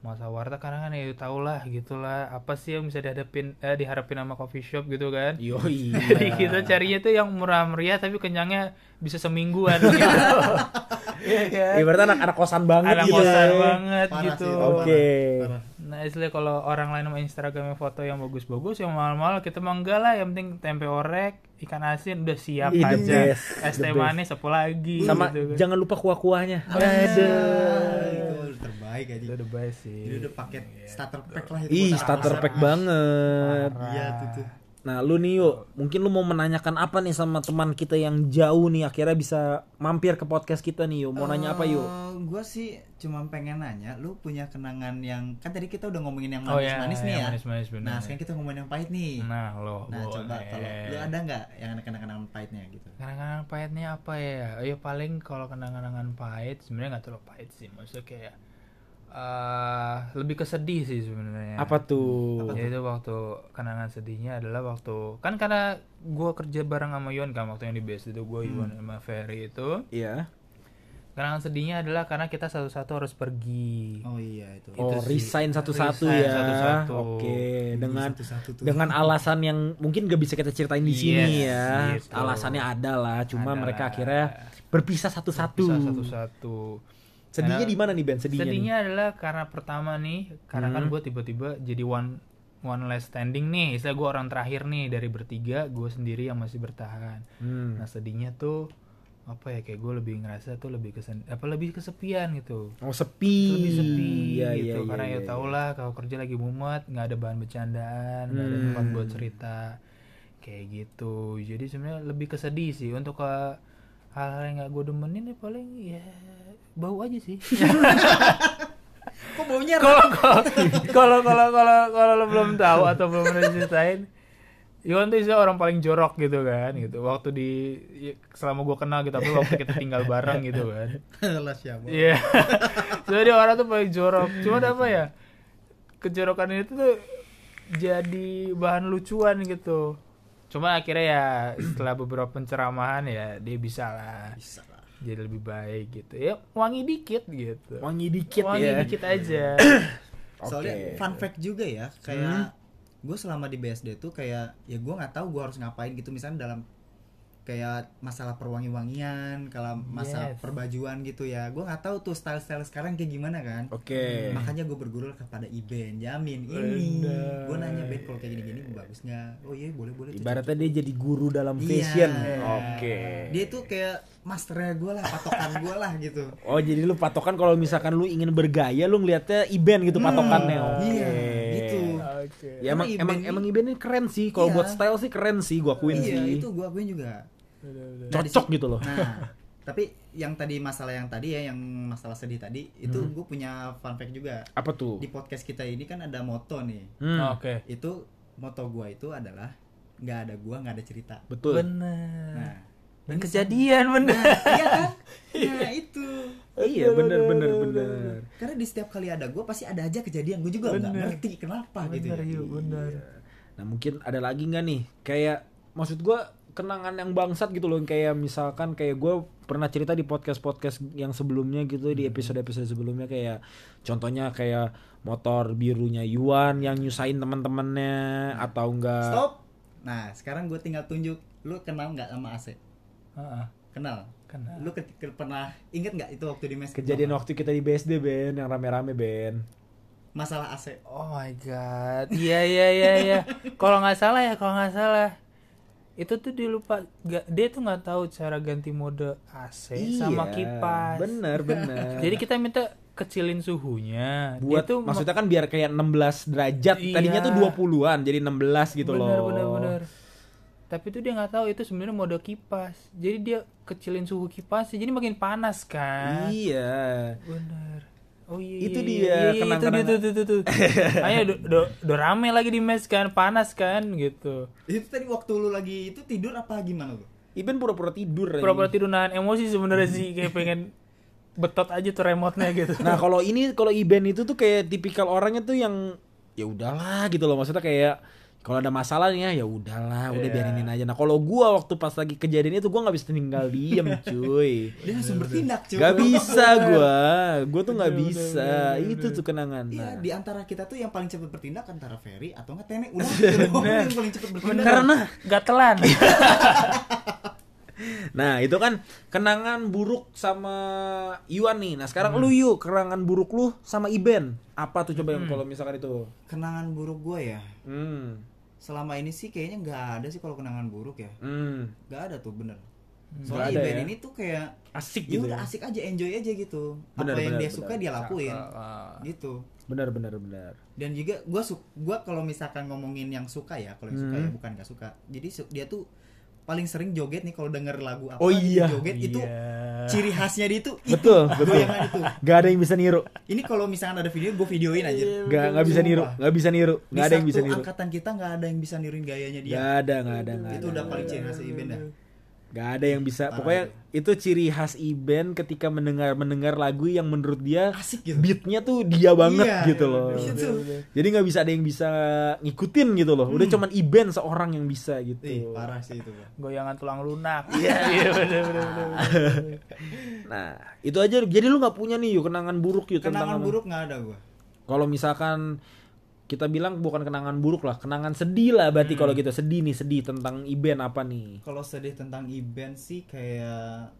[SPEAKER 3] masa warteg karena kan ya tau lah gitulah apa sih yang bisa dihadapin eh, diharapin sama coffee shop gitu kan
[SPEAKER 2] yoi
[SPEAKER 3] jadi kita
[SPEAKER 2] iya.
[SPEAKER 3] carinya tuh yang murah meriah tapi kenyangnya bisa semingguan
[SPEAKER 4] Iya,
[SPEAKER 3] gitu. Iya kan?
[SPEAKER 2] ibaratnya anak anak kosan banget
[SPEAKER 3] Anak
[SPEAKER 2] gitu
[SPEAKER 3] kosan
[SPEAKER 2] ya.
[SPEAKER 3] banget
[SPEAKER 4] Parah
[SPEAKER 3] gitu.
[SPEAKER 4] sih,
[SPEAKER 2] oke
[SPEAKER 3] Nah, istilahnya kalau orang lain sama Instagramnya foto yang bagus-bagus, yang mahal-mahal, kita mah enggak lah. Yang penting tempe orek, ikan asin udah siap
[SPEAKER 2] Ih, Iya, the
[SPEAKER 3] aja.
[SPEAKER 2] best,
[SPEAKER 3] Es
[SPEAKER 2] the
[SPEAKER 3] teh
[SPEAKER 2] best.
[SPEAKER 3] manis apa lagi
[SPEAKER 2] sama
[SPEAKER 3] gitu kan.
[SPEAKER 2] jangan lupa kuah kuahnya
[SPEAKER 4] Ah,
[SPEAKER 2] ada
[SPEAKER 4] itu terbaik aja.
[SPEAKER 3] Itu the best sih.
[SPEAKER 4] Jadi udah paket starter pack lah itu.
[SPEAKER 2] ih
[SPEAKER 4] buat anak
[SPEAKER 2] starter
[SPEAKER 4] pasar.
[SPEAKER 2] pack banget
[SPEAKER 4] Iya tuh tuh.
[SPEAKER 2] Nah lu nih yuk, mungkin lu mau menanyakan apa nih sama teman kita yang jauh nih akhirnya bisa mampir ke podcast kita nih yuk. Mau nanya apa yuk?
[SPEAKER 4] Eh, gua sih cuma pengen nanya, lu punya kenangan yang kan tadi kita udah ngomongin yang
[SPEAKER 3] Oh, iya,
[SPEAKER 4] manis-manis nih
[SPEAKER 3] yang
[SPEAKER 4] ya.
[SPEAKER 3] manis-manis, benar.
[SPEAKER 4] Nah, sekarang kita ngomongin yang pahit nih. Nah,
[SPEAKER 3] Nah, lo boleh.
[SPEAKER 4] coba kalau lu ada nggak yang ada kenangan pahitnya gitu?
[SPEAKER 3] kenangan pahitnya apa ya? Oh ya paling kalau kenangan-kenangan pahit sebenarnya nggak terlalu pahit sih. Maksudnya kayak eh lebih kesedih sih sebenarnya.
[SPEAKER 2] Apa tuh?
[SPEAKER 3] Jadi itu waktu kenangan sedihnya adalah waktu kan karena
[SPEAKER 2] Hmm.
[SPEAKER 3] gua kerja bareng sama Yuan kan waktu yang di BSD itu gua Yuan sama Ferry itu
[SPEAKER 2] Iya.
[SPEAKER 3] kenangan sedihnya adalah karena kita satu-satu harus pergi
[SPEAKER 4] Oh iya itu.
[SPEAKER 2] Oh,
[SPEAKER 3] Itu sih.
[SPEAKER 2] resign satu-satu
[SPEAKER 3] Resign
[SPEAKER 2] ya.
[SPEAKER 3] satu-satu.
[SPEAKER 2] Oke,
[SPEAKER 4] Ini
[SPEAKER 2] dengan
[SPEAKER 4] satu-satu tuh.
[SPEAKER 2] dengan alasan yang mungkin gak bisa kita ceritain di
[SPEAKER 3] Yes,
[SPEAKER 2] sini ya.
[SPEAKER 3] gitu.
[SPEAKER 2] Alasannya ada lah, cuma
[SPEAKER 3] Ada
[SPEAKER 2] mereka
[SPEAKER 3] lah.
[SPEAKER 2] akhirnya berpisah satu-satu.
[SPEAKER 3] Bisa satu-satu
[SPEAKER 2] Sedihnya
[SPEAKER 3] Karena-
[SPEAKER 2] di mana nih Ben? Sedihnya. nih? Hmm.
[SPEAKER 3] sedihnya adalah karena pertama nih karena kan gue tiba-tiba jadi one one last standing nih istilah gue orang terakhir nih dari bertiga gue sendiri yang masih bertahan
[SPEAKER 2] Hmm.
[SPEAKER 3] nah sedihnya tuh apa ya kayak gue lebih ngerasa tuh lebih kesen apa lebih kesepian gitu
[SPEAKER 2] Oh, sepi.
[SPEAKER 3] lebih sepi
[SPEAKER 2] Iya,
[SPEAKER 3] gitu
[SPEAKER 2] iya,
[SPEAKER 3] karena
[SPEAKER 2] iya,
[SPEAKER 3] ya
[SPEAKER 2] iya.
[SPEAKER 3] tau lah kalau kerja lagi mumet nggak ada bahan bercandaan nggak ada
[SPEAKER 2] Hmm.
[SPEAKER 3] tempat buat cerita kayak gitu jadi sebenarnya lebih kesedih sih untuk ke hal-hal yang nggak gue demenin ya paling ya bau aja sih
[SPEAKER 4] Kok baunya
[SPEAKER 3] kalau kalau- kalau kalau kalau kalau lo belum tahu atau belum pernah diceritain Iwan tuh istilah orang paling jorok gitu kan gitu waktu di ya, selama gue kenal gitu tapi waktu kita tinggal bareng gitu kan
[SPEAKER 4] lah siapa?
[SPEAKER 3] Iya. Jadi orang tuh paling jorok. Cuman apa ya? Kejorokan itu tuh jadi bahan lucuan gitu. Cuma akhirnya ya setelah beberapa penceramahan ya dia bisa lah
[SPEAKER 4] Bisa lah.
[SPEAKER 3] jadi lebih baik gitu. Ya wangi dikit gitu.
[SPEAKER 2] Wangi dikit
[SPEAKER 3] Wangi
[SPEAKER 2] ya.
[SPEAKER 3] dikit aja.
[SPEAKER 4] Soalnya
[SPEAKER 2] Oke.
[SPEAKER 4] fun fact juga ya, kayak gue selama di BSD tuh kayak ya gue nggak tahu gue harus ngapain gitu misalnya dalam kayak masalah perwangi-wangian, kalau masa
[SPEAKER 3] Yes.
[SPEAKER 4] perbajuan gitu ya, gue nggak tahu tuh style-style sekarang kayak gimana kan.
[SPEAKER 2] Oke.
[SPEAKER 4] Makanya gue bergurau kepada Iben, jamin ini.
[SPEAKER 3] Bener.
[SPEAKER 4] Gue nanya Ben kalau kayak gini-gini bagus nggak? Oh iya boleh boleh. tuh,
[SPEAKER 2] Ibaratnya dia jadi guru dalam
[SPEAKER 4] Iya.
[SPEAKER 2] fashion. Oke.
[SPEAKER 4] dia tuh kayak masternya gue lah patokan gue lah gitu
[SPEAKER 2] Oh jadi lu patokan kalau misalkan lu ingin bergaya lu ngeliatnya Iben gitu patokannya. Oke.
[SPEAKER 4] iya gitu
[SPEAKER 3] Oke.
[SPEAKER 2] Ya emang
[SPEAKER 4] Karena Iben
[SPEAKER 2] emang
[SPEAKER 4] ini-
[SPEAKER 2] emang Iben ini keren sih.
[SPEAKER 4] Iya.
[SPEAKER 2] Kalau buat style sih keren sih gua akuin
[SPEAKER 4] iya
[SPEAKER 2] sih.
[SPEAKER 4] itu gue akuin juga
[SPEAKER 3] Hmm.
[SPEAKER 2] Cocok gitu loh.
[SPEAKER 4] nah tapi yang tadi masalah yang tadi ya yang masalah sedih tadi itu
[SPEAKER 2] Hmm.
[SPEAKER 4] gue punya fun fact juga
[SPEAKER 2] Apa tuh?
[SPEAKER 4] di podcast kita ini kan ada moto nih
[SPEAKER 2] Hmm,
[SPEAKER 3] Oke.
[SPEAKER 4] itu moto gue itu adalah nggak ada gua nggak ada cerita
[SPEAKER 2] Betul.
[SPEAKER 3] Bener.
[SPEAKER 4] nah
[SPEAKER 3] Dan kejadian bener.
[SPEAKER 4] iya kan nah itu
[SPEAKER 2] Iya bener bener bener.
[SPEAKER 4] karena di setiap kali ada gue pasti ada aja kejadian gue juga nggak
[SPEAKER 3] Bener.
[SPEAKER 4] ngerti kenapa gitu
[SPEAKER 3] Bener
[SPEAKER 4] ya.
[SPEAKER 3] yuk, bener.
[SPEAKER 2] Nah mungkin ada lagi nggak nih? Kayak maksud gua kenangan yang bangsat gitu loh kayak misalkan kayak gue pernah cerita di podcast podcast yang sebelumnya gitu
[SPEAKER 3] Hmm.
[SPEAKER 2] di episode episode sebelumnya kayak contohnya kayak motor birunya Yuan yang nyusahin teman-temannya
[SPEAKER 3] Hmm.
[SPEAKER 2] atau enggak
[SPEAKER 4] Stop. Nah, sekarang gue tinggal tunjuk. Lu kenal nggak sama AC?
[SPEAKER 3] Heeh.
[SPEAKER 4] Kenal.
[SPEAKER 3] Kenal.
[SPEAKER 4] Lu ke- ke- pernah inget nggak itu waktu di mes?
[SPEAKER 2] Kejadian waktu kita di BSD Ben yang rame-rame Ben.
[SPEAKER 4] Masalah AC.
[SPEAKER 3] Oh my god. Iya iya iya iya. Kalau nggak salah ya, kalau nggak salah. Itu tuh dia lupa ga- dia tuh nggak tahu cara ganti mode AC Eh, sama kipas.
[SPEAKER 2] Iya. Bener bener.
[SPEAKER 3] Jadi kita minta kecilin suhunya. Dia
[SPEAKER 2] buat
[SPEAKER 3] tuh
[SPEAKER 2] tuh maksudnya kan biar kayak 16 derajat. Tadinya
[SPEAKER 3] Iya.
[SPEAKER 2] tuh 20-an jadi 16 gitu
[SPEAKER 3] bener,
[SPEAKER 2] loh.
[SPEAKER 3] Bener bener. Tapi tuh dia nggak tahu itu sebenarnya mode kipas. Jadi dia kecilin suhu kipas jadi makin panas kan.
[SPEAKER 2] Iya.
[SPEAKER 3] Bener. Oh iya.
[SPEAKER 2] Itu
[SPEAKER 3] iya,
[SPEAKER 2] dia,
[SPEAKER 3] iya, iya, itu
[SPEAKER 2] kenang-kenangan.
[SPEAKER 3] itu itu itu. Ayo do, do, do rame lagi di mes kan, panas kan gitu.
[SPEAKER 4] Itu tadi waktu lu lagi itu tidur apa gimana lu?
[SPEAKER 2] Iben pura-pura tidur. anjing.
[SPEAKER 3] pura-pura tidur nahan emosi sebenarnya sih kayak pengen betot aja tuh remote-nya gitu.
[SPEAKER 2] Nah kalau ini kalau Iben itu tuh kayak tipikal orangnya tuh yang ya udahlah gitu loh maksudnya kayak kalau ada masalahnya ya udahlah udah
[SPEAKER 3] Iya.
[SPEAKER 2] biarinin aja. Nah kalau gua waktu pas lagi kejadian itu gua nggak bisa tinggal diem cuy.
[SPEAKER 4] Dia langsung bertindak, cuy.
[SPEAKER 2] Gak bisa gua, gua tuh nggak bisa. Itu tuh kenangan.
[SPEAKER 4] Iya,
[SPEAKER 2] Nah,
[SPEAKER 4] di antara kita tuh yang paling cepat bertindak antara Ferry atau nggak Tene. Udah, itu doang yang paling cepat bertindak.
[SPEAKER 2] Karena,
[SPEAKER 3] Gatelan.
[SPEAKER 2] nah itu kan kenangan buruk sama Iwan nih. Nah sekarang
[SPEAKER 3] Hmm.
[SPEAKER 2] lu yuk kenangan buruk lu sama Iben. Apa tuh coba yang
[SPEAKER 3] Hmm.
[SPEAKER 2] kalau misalkan itu?
[SPEAKER 4] kenangan buruk gue ya.
[SPEAKER 2] Hmm,
[SPEAKER 4] Selama ini sih kayaknya nggak ada sih kalau kenangan buruk ya.
[SPEAKER 2] hmm,
[SPEAKER 4] Nggak ada tuh bener.
[SPEAKER 2] Nggak
[SPEAKER 4] Soalnya
[SPEAKER 2] ada
[SPEAKER 4] event
[SPEAKER 2] ya.
[SPEAKER 4] ini tuh kayak
[SPEAKER 2] asik
[SPEAKER 4] ya
[SPEAKER 2] gitu.
[SPEAKER 4] udah
[SPEAKER 2] Ya.
[SPEAKER 4] asik aja, enjoy aja gitu.
[SPEAKER 2] Bener,
[SPEAKER 4] apa yang
[SPEAKER 2] bener,
[SPEAKER 4] dia
[SPEAKER 2] bener. ah.
[SPEAKER 4] suka dia lakuin. Gitu.
[SPEAKER 2] Benar benar benar.
[SPEAKER 4] dan juga gua su- gua kalau misalkan ngomongin yang suka ya kalau yang suka
[SPEAKER 2] Hmm.
[SPEAKER 4] ya bukan gak suka jadi su- dia tuh paling sering joget nih kalau denger lagu apa
[SPEAKER 2] Oh
[SPEAKER 4] dia
[SPEAKER 2] iya.
[SPEAKER 4] joget itu ciri khasnya dia itu itu
[SPEAKER 2] Betul, betul.
[SPEAKER 4] goyangan itu
[SPEAKER 2] Gak ada yang bisa niru.
[SPEAKER 4] ini kalau misalkan ada video gue videoin aja
[SPEAKER 2] Gak nggak bisa niru. Gak bisa niru. Gak ada yang bisa niru.
[SPEAKER 4] angkatan kita nggak ada yang bisa niruin gayanya dia Nah,
[SPEAKER 2] Gak ada gak ada gak ada.
[SPEAKER 4] ya? itu udah paling ciri khasnya Iben dah
[SPEAKER 2] Gak ada yang bisa. Pokoknya itu ciri khas Iben ketika mendengar mendengar lagu yang menurut dia
[SPEAKER 4] Asik gitu.
[SPEAKER 2] beatnya tuh dia banget
[SPEAKER 4] Iya,
[SPEAKER 2] gitu
[SPEAKER 4] iya,
[SPEAKER 2] loh.
[SPEAKER 4] bener, bener, bener.
[SPEAKER 2] Jadi nggak bisa ada yang bisa ngikutin gitu loh. Udah cuman Iben seorang yang bisa gitu.
[SPEAKER 4] Hmm. Ih, parah sih itu, Bang.
[SPEAKER 3] goyangan tulang lunak iya bener, bener, bener, bener.
[SPEAKER 2] Nah itu aja. Jadi lu nggak punya nih yuk kenangan buruk yuk tentang
[SPEAKER 4] Kenangan
[SPEAKER 2] apa?
[SPEAKER 4] buruk nggak ada gua.
[SPEAKER 2] Kalau misalkan kita bilang bukan kenangan buruk lah, kenangan sedih lah berarti
[SPEAKER 4] Hmm.
[SPEAKER 2] kalau gitu sedih nih sedih tentang Iben apa nih?
[SPEAKER 4] Kalau sedih tentang event sih kayak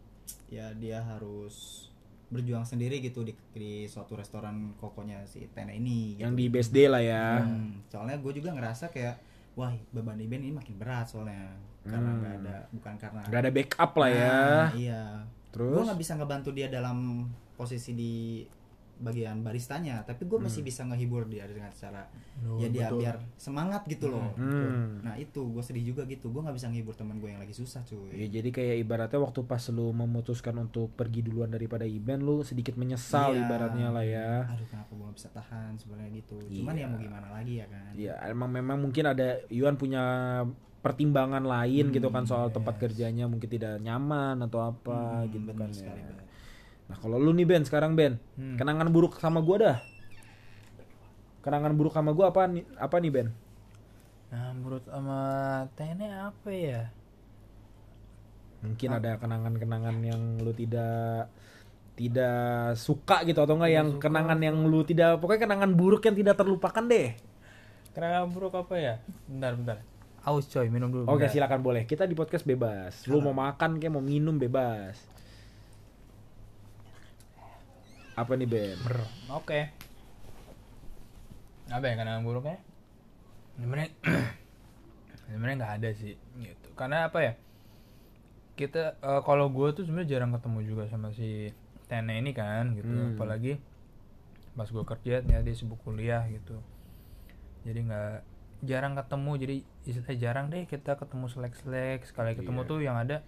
[SPEAKER 4] ya dia harus berjuang sendiri gitu di, di suatu restoran kokonya si Tena ini gitu.
[SPEAKER 2] Yang di BSD lah ya.
[SPEAKER 4] Hmm, soalnya gue juga ngerasa kayak wah beban event ini makin berat soalnya karena nggak ada bukan karena
[SPEAKER 2] Gak Hmm. ada backup lah ya.
[SPEAKER 4] Nah, iya. Gue
[SPEAKER 2] Terus?
[SPEAKER 4] nggak bisa ngebantu dia dalam posisi di bagian baristanya, tapi gue
[SPEAKER 2] Hmm.
[SPEAKER 4] masih bisa ngehibur dia dengan cara ya dia biar semangat gitu loh.
[SPEAKER 2] Hmm.
[SPEAKER 4] Nah itu gue sedih juga gitu, gue nggak bisa ngehibur teman gue yang lagi susah
[SPEAKER 2] Ya,
[SPEAKER 4] cuy.
[SPEAKER 2] jadi kayak ibaratnya waktu pas lu memutuskan untuk pergi duluan daripada Iben lu sedikit menyesal
[SPEAKER 4] Iya.
[SPEAKER 2] ibaratnya lah ya. Iya.
[SPEAKER 4] Aduh kenapa gue nggak bisa tahan sebenarnya gitu. Cuman ya mau gimana lagi ya kan.
[SPEAKER 2] Ya emang memang mungkin ada Yuan punya pertimbangan lain
[SPEAKER 4] Hmm.
[SPEAKER 2] gitu kan soal tempat kerjanya mungkin tidak nyaman atau apa gitu
[SPEAKER 4] bener
[SPEAKER 2] kan ya.
[SPEAKER 4] Hmm, sekali, Ben.
[SPEAKER 2] Nah kalau lu nih Ben sekarang Ben, kenangan buruk sama gua dah. Kenangan buruk sama gua apa nih apa nih Ben?
[SPEAKER 3] nah menurut sama Tene apa ya
[SPEAKER 2] Mungkin ada kenangan-kenangan yang lu tidak tidak suka gitu atau enggak yang kenangan yang lu tidak pokoknya kenangan buruk yang tidak terlupakan deh.
[SPEAKER 3] kenangan buruk apa ya bentar bentar aus coy minum dulu
[SPEAKER 2] Oke
[SPEAKER 3] bentar.
[SPEAKER 2] silakan boleh. Kita di podcast bebas. Lu mau makan kayak mau minum bebas. Apa nih Ben?
[SPEAKER 3] Oke. Apa ya kenangan buruknya? Sebenarnya sebenarnya nggak ada sih gitu. Karena apa ya? Kita eh, kalau gue tuh sebenarnya jarang ketemu juga sama si Tene ini kan gitu. Apalagi pas gue kerja ternyata dia sibuk kuliah gitu. Jadi nggak jarang ketemu jadi istilahnya jarang deh kita ketemu selek-selek sekali ketemu tuh yang ada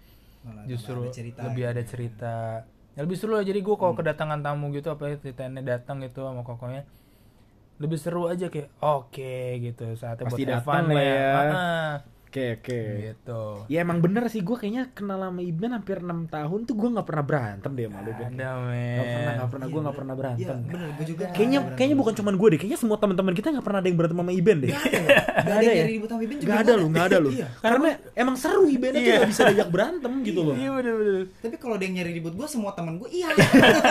[SPEAKER 4] Malah
[SPEAKER 3] justru
[SPEAKER 4] tambah ada cerita
[SPEAKER 3] lebih ada cerita ya lebih seru lah jadi gue kalau kedatangan tamu gitu apalagi ceritanya datang gitu sama kokonya lebih seru aja kayak oke gitu saatnya
[SPEAKER 2] Pasti
[SPEAKER 3] buat have
[SPEAKER 2] datang
[SPEAKER 3] fun
[SPEAKER 2] lah
[SPEAKER 3] ya.
[SPEAKER 2] ya.
[SPEAKER 3] Ah,
[SPEAKER 2] Oke oke.
[SPEAKER 3] gitu
[SPEAKER 2] Ya emang bener sih gue kayaknya kenal sama Iben hampir 6 tahun tuh gue nggak pernah berantem deh sama lu Ben. Gak
[SPEAKER 3] ada
[SPEAKER 2] pernah
[SPEAKER 3] men
[SPEAKER 2] gak pernah gue nggak pernah
[SPEAKER 4] Iya
[SPEAKER 2] berantem.
[SPEAKER 4] bener, gue juga.
[SPEAKER 2] Kayaknya kayaknya bukan cuman gue deh, kayaknya semua teman-teman kita nggak pernah ada yang berantem sama Iben deh.
[SPEAKER 4] Gak ada ya. Ribut sama Bibin juga
[SPEAKER 2] Gak ada
[SPEAKER 4] nggak
[SPEAKER 2] lu, gak ada lu.
[SPEAKER 4] Iya.
[SPEAKER 2] Karena emang seru Iben aja gak bisa diajak berantem gitu loh.
[SPEAKER 3] iya bener bener
[SPEAKER 4] Tapi kalau dia yang nyari ribut gue, semua teman gue iya.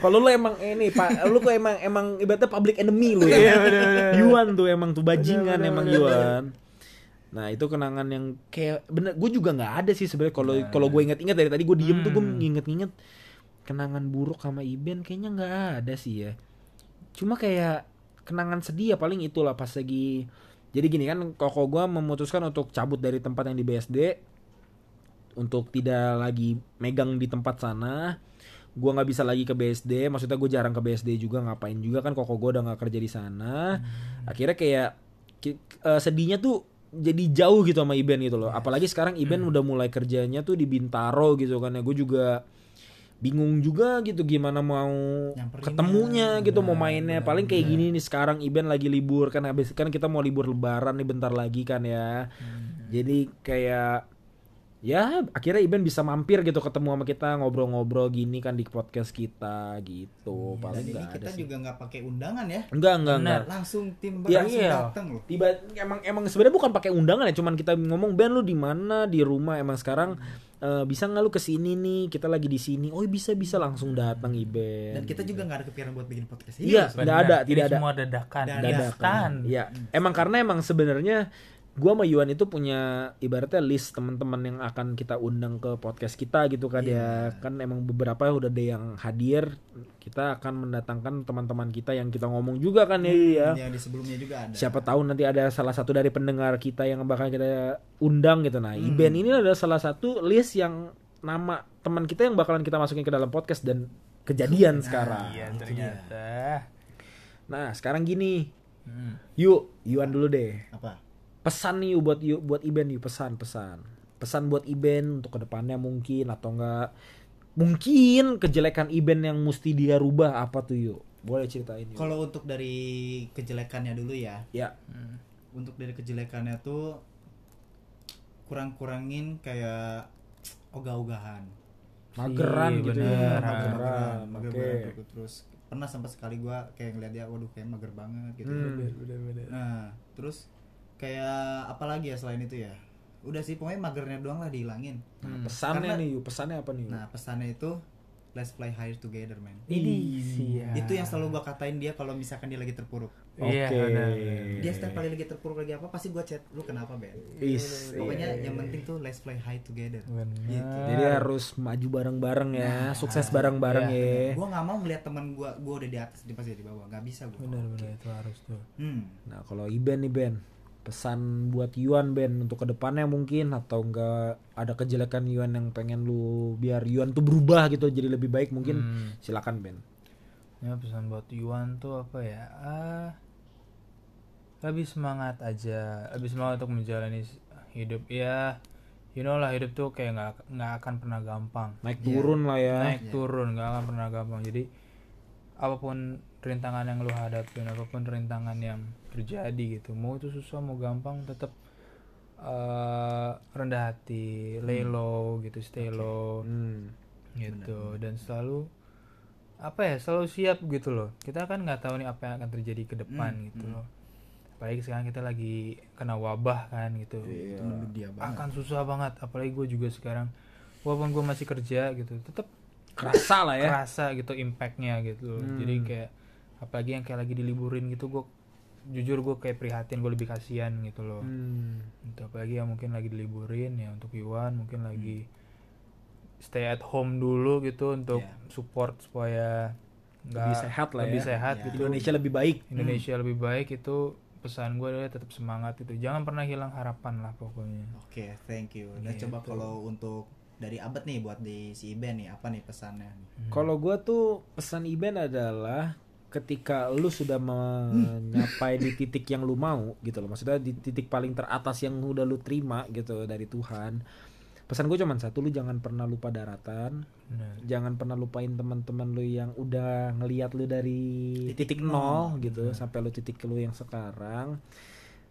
[SPEAKER 2] Kalau lu emang ini, Pak, lu kok emang emang ibaratnya public enemy lu ya. Yuan tuh emang tuh bajingan emang Yuan. Nah, itu kenangan yang kayak bener gue juga nggak ada Hmm. sih sebenarnya kalau kalau gue inget-inget dari tadi gue diem tuh gue nginget-nginget kenangan buruk sama Iben kayaknya nggak ada sih ya. Cuma kayak kenangan sedih ya paling itulah pas lagi jadi gini kan koko gue memutuskan untuk cabut dari tempat yang di BSD untuk tidak lagi megang di tempat sana gua nggak bisa lagi ke BSD maksudnya gue jarang ke BSD juga ngapain juga kan koko gue udah nggak kerja di sana akhirnya kayak ki- eh, sedihnya tuh jadi jauh gitu sama Iben gitu loh apalagi sekarang Iben udah mulai kerjanya tuh di Bintaro gitu kan ya gue juga bingung juga gitu gimana mau
[SPEAKER 4] Nyamperinnya.
[SPEAKER 2] ketemunya gitu mau mainnya paling kayak gini nih sekarang Iben lagi libur kan habis kan kita mau libur lebaran nih bentar lagi kan ya jadi kayak ya akhirnya Iben bisa mampir gitu ketemu sama kita ngobrol-ngobrol gini kan di podcast kita
[SPEAKER 4] Iya,
[SPEAKER 2] gitu
[SPEAKER 4] Dan
[SPEAKER 2] paling
[SPEAKER 4] ini
[SPEAKER 2] nggak ada
[SPEAKER 4] kita
[SPEAKER 2] sih
[SPEAKER 4] juga nggak pakai undangan ya.
[SPEAKER 2] enggak enggak enggak
[SPEAKER 4] Langsung tim
[SPEAKER 2] Iya,
[SPEAKER 4] langsung
[SPEAKER 2] iya.
[SPEAKER 4] datang loh.
[SPEAKER 2] tiba emang emang sebenarnya bukan pakai undangan ya cuman kita ngomong Ben lu di mana di rumah emang sekarang
[SPEAKER 4] Hmm.
[SPEAKER 2] eh, bisa nggak lu kesini nih kita lagi di sini oh bisa bisa langsung datang Iben
[SPEAKER 4] Dan kita juga nggak ada kepikiran buat bikin podcast ini.
[SPEAKER 2] Iya.
[SPEAKER 4] loh,
[SPEAKER 2] Nggak ada,
[SPEAKER 3] Jadi
[SPEAKER 2] tidak ada.
[SPEAKER 3] semua dadakan
[SPEAKER 2] dadakan. Iya, emang karena emang sebenarnya gua sama Yuan itu punya ibaratnya list teman-teman yang akan kita undang ke podcast kita gitu kan ya. Kan emang beberapa udah ada yang hadir. Kita akan mendatangkan teman-teman kita yang kita ngomong juga kan ya. Yu, ya.
[SPEAKER 4] Yang di sebelumnya juga ada.
[SPEAKER 2] Siapa tahu nanti ada salah satu dari pendengar kita yang bakal kita undang gitu. Nah, Iben ini adalah salah satu list yang nama teman kita yang bakalan kita masukin ke dalam podcast dan kejadian sekarang.
[SPEAKER 3] iya ternyata
[SPEAKER 2] Nah, sekarang gini.
[SPEAKER 3] Hmm.
[SPEAKER 2] Yuk, Yuan dulu deh
[SPEAKER 4] Apa?
[SPEAKER 2] pesan nih Yu, buat Yu- buat Iben nih pesan pesan pesan buat Iben untuk kedepannya mungkin atau enggak mungkin kejelekan Iben yang mesti dia rubah apa tuh yuk boleh ceritain yuk
[SPEAKER 4] Kalau untuk dari kejelekannya dulu ya.
[SPEAKER 2] ya
[SPEAKER 3] Hmm.
[SPEAKER 4] Untuk dari kejelekannya tuh kurang-kurangin kayak ogah-ogahan
[SPEAKER 2] mageran
[SPEAKER 3] Iya,
[SPEAKER 2] gitu
[SPEAKER 3] bener.
[SPEAKER 2] ya
[SPEAKER 3] Mageran,
[SPEAKER 2] mageran
[SPEAKER 4] mager
[SPEAKER 2] oke
[SPEAKER 4] banget aku gitu. terus pernah sempat sekali gua kayak ngeliat dia waduh kayak mager banget gitu
[SPEAKER 2] Hmm.
[SPEAKER 4] nah terus kayak apalagi ya selain itu ya udah sih pokoknya magernya doang lah dihilangin
[SPEAKER 2] Nah, pesannya
[SPEAKER 4] Karena-
[SPEAKER 2] nih Yu, pesannya apa nih Yu?
[SPEAKER 4] nah pesannya itu let's play higher together man
[SPEAKER 2] Iya.
[SPEAKER 3] Ini sih ya.
[SPEAKER 4] itu yang selalu gua katain dia kalau misalkan dia lagi terpuruk
[SPEAKER 3] Iya,
[SPEAKER 2] oke
[SPEAKER 3] benar.
[SPEAKER 4] dia
[SPEAKER 2] Iya,
[SPEAKER 4] setiap kali lagi terpuruk lagi apa pasti gua chat lu kenapa Ben
[SPEAKER 2] Is,
[SPEAKER 4] pokoknya
[SPEAKER 2] iya.
[SPEAKER 4] yang penting tuh let's play high together
[SPEAKER 3] Benar.
[SPEAKER 4] Gitu.
[SPEAKER 2] jadi harus maju bareng-bareng ya
[SPEAKER 4] Nah.
[SPEAKER 2] sukses bareng-bareng ya,
[SPEAKER 3] iya,
[SPEAKER 4] gua nggak mau ngeliat teman gua gua udah di atas dia pasti di bawah nggak bisa gua
[SPEAKER 3] Benar-benar itu harus tuh.
[SPEAKER 4] hmm
[SPEAKER 2] nah kalau Iben nih Ben pesan buat Yuan Ben untuk kedepannya mungkin atau enggak ada kejelekan Yuan yang pengen lu biar Yuan tuh berubah gitu jadi lebih baik mungkin
[SPEAKER 3] Hmm.
[SPEAKER 2] silakan Ben
[SPEAKER 3] Ya pesan buat Yuan tuh apa ya? Ah, lebih semangat aja, lebih semangat untuk menjalani s- hidup ya. You know lah hidup tuh kayak nggak nggak akan pernah gampang.
[SPEAKER 2] naik turun lah ya
[SPEAKER 3] Iya. Naik turun nggak akan pernah gampang. Jadi apapun rintangan yang lu hadapin, apapun rintangan yang terjadi gitu, mau itu susah mau gampang tetap eh, rendah hati, lay low gitu, stay low
[SPEAKER 2] Hmm.
[SPEAKER 3] gitu dan selalu apa ya selalu siap gitu loh kita kan nggak tahu nih apa yang akan terjadi ke depan gitu loh apalagi sekarang kita lagi kena wabah kan gitu
[SPEAKER 2] Iya.
[SPEAKER 4] itu menurut dia Iya, banget
[SPEAKER 3] akan susah banget apalagi gue juga sekarang walaupun gue masih kerja gitu tetap
[SPEAKER 2] kerasa lah ya
[SPEAKER 3] kerasa gitu impactnya gitu loh. jadi kayak apalagi yang kayak lagi diliburin gitu gue jujur gue kayak prihatin gue lebih kasihan gitu loh
[SPEAKER 2] Hmm.
[SPEAKER 3] untuk apalagi ya mungkin lagi diliburin ya untuk Iwan mungkin lagi stay at home dulu gitu untuk
[SPEAKER 4] Iya.
[SPEAKER 3] support supaya
[SPEAKER 2] lebih
[SPEAKER 3] nggak-
[SPEAKER 2] sehat lah
[SPEAKER 3] lebih
[SPEAKER 2] ya
[SPEAKER 3] sehat
[SPEAKER 4] Iya.
[SPEAKER 3] gitu
[SPEAKER 2] Indonesia lebih baik
[SPEAKER 3] Indonesia lebih baik itu pesan gue adalah tetap semangat itu jangan pernah hilang harapan lah pokoknya
[SPEAKER 4] oke thank you dan
[SPEAKER 2] Gitu.
[SPEAKER 4] coba kalau untuk dari abad nih buat di si Iben nih apa nih pesannya
[SPEAKER 3] Hmm,
[SPEAKER 2] Kalau gua tuh pesan Iben adalah ketika lu sudah menyapai di titik yang lu mau gitu loh. Maksudnya di titik paling teratas yang udah lu terima gitu dari Tuhan. Pesan gue cuman satu, lu jangan pernah lupa daratan.
[SPEAKER 3] Benar.
[SPEAKER 2] Jangan pernah lupain teman-teman lu yang udah ngeliat lu dari titik, nol, gitu sampai lu titik lu yang sekarang.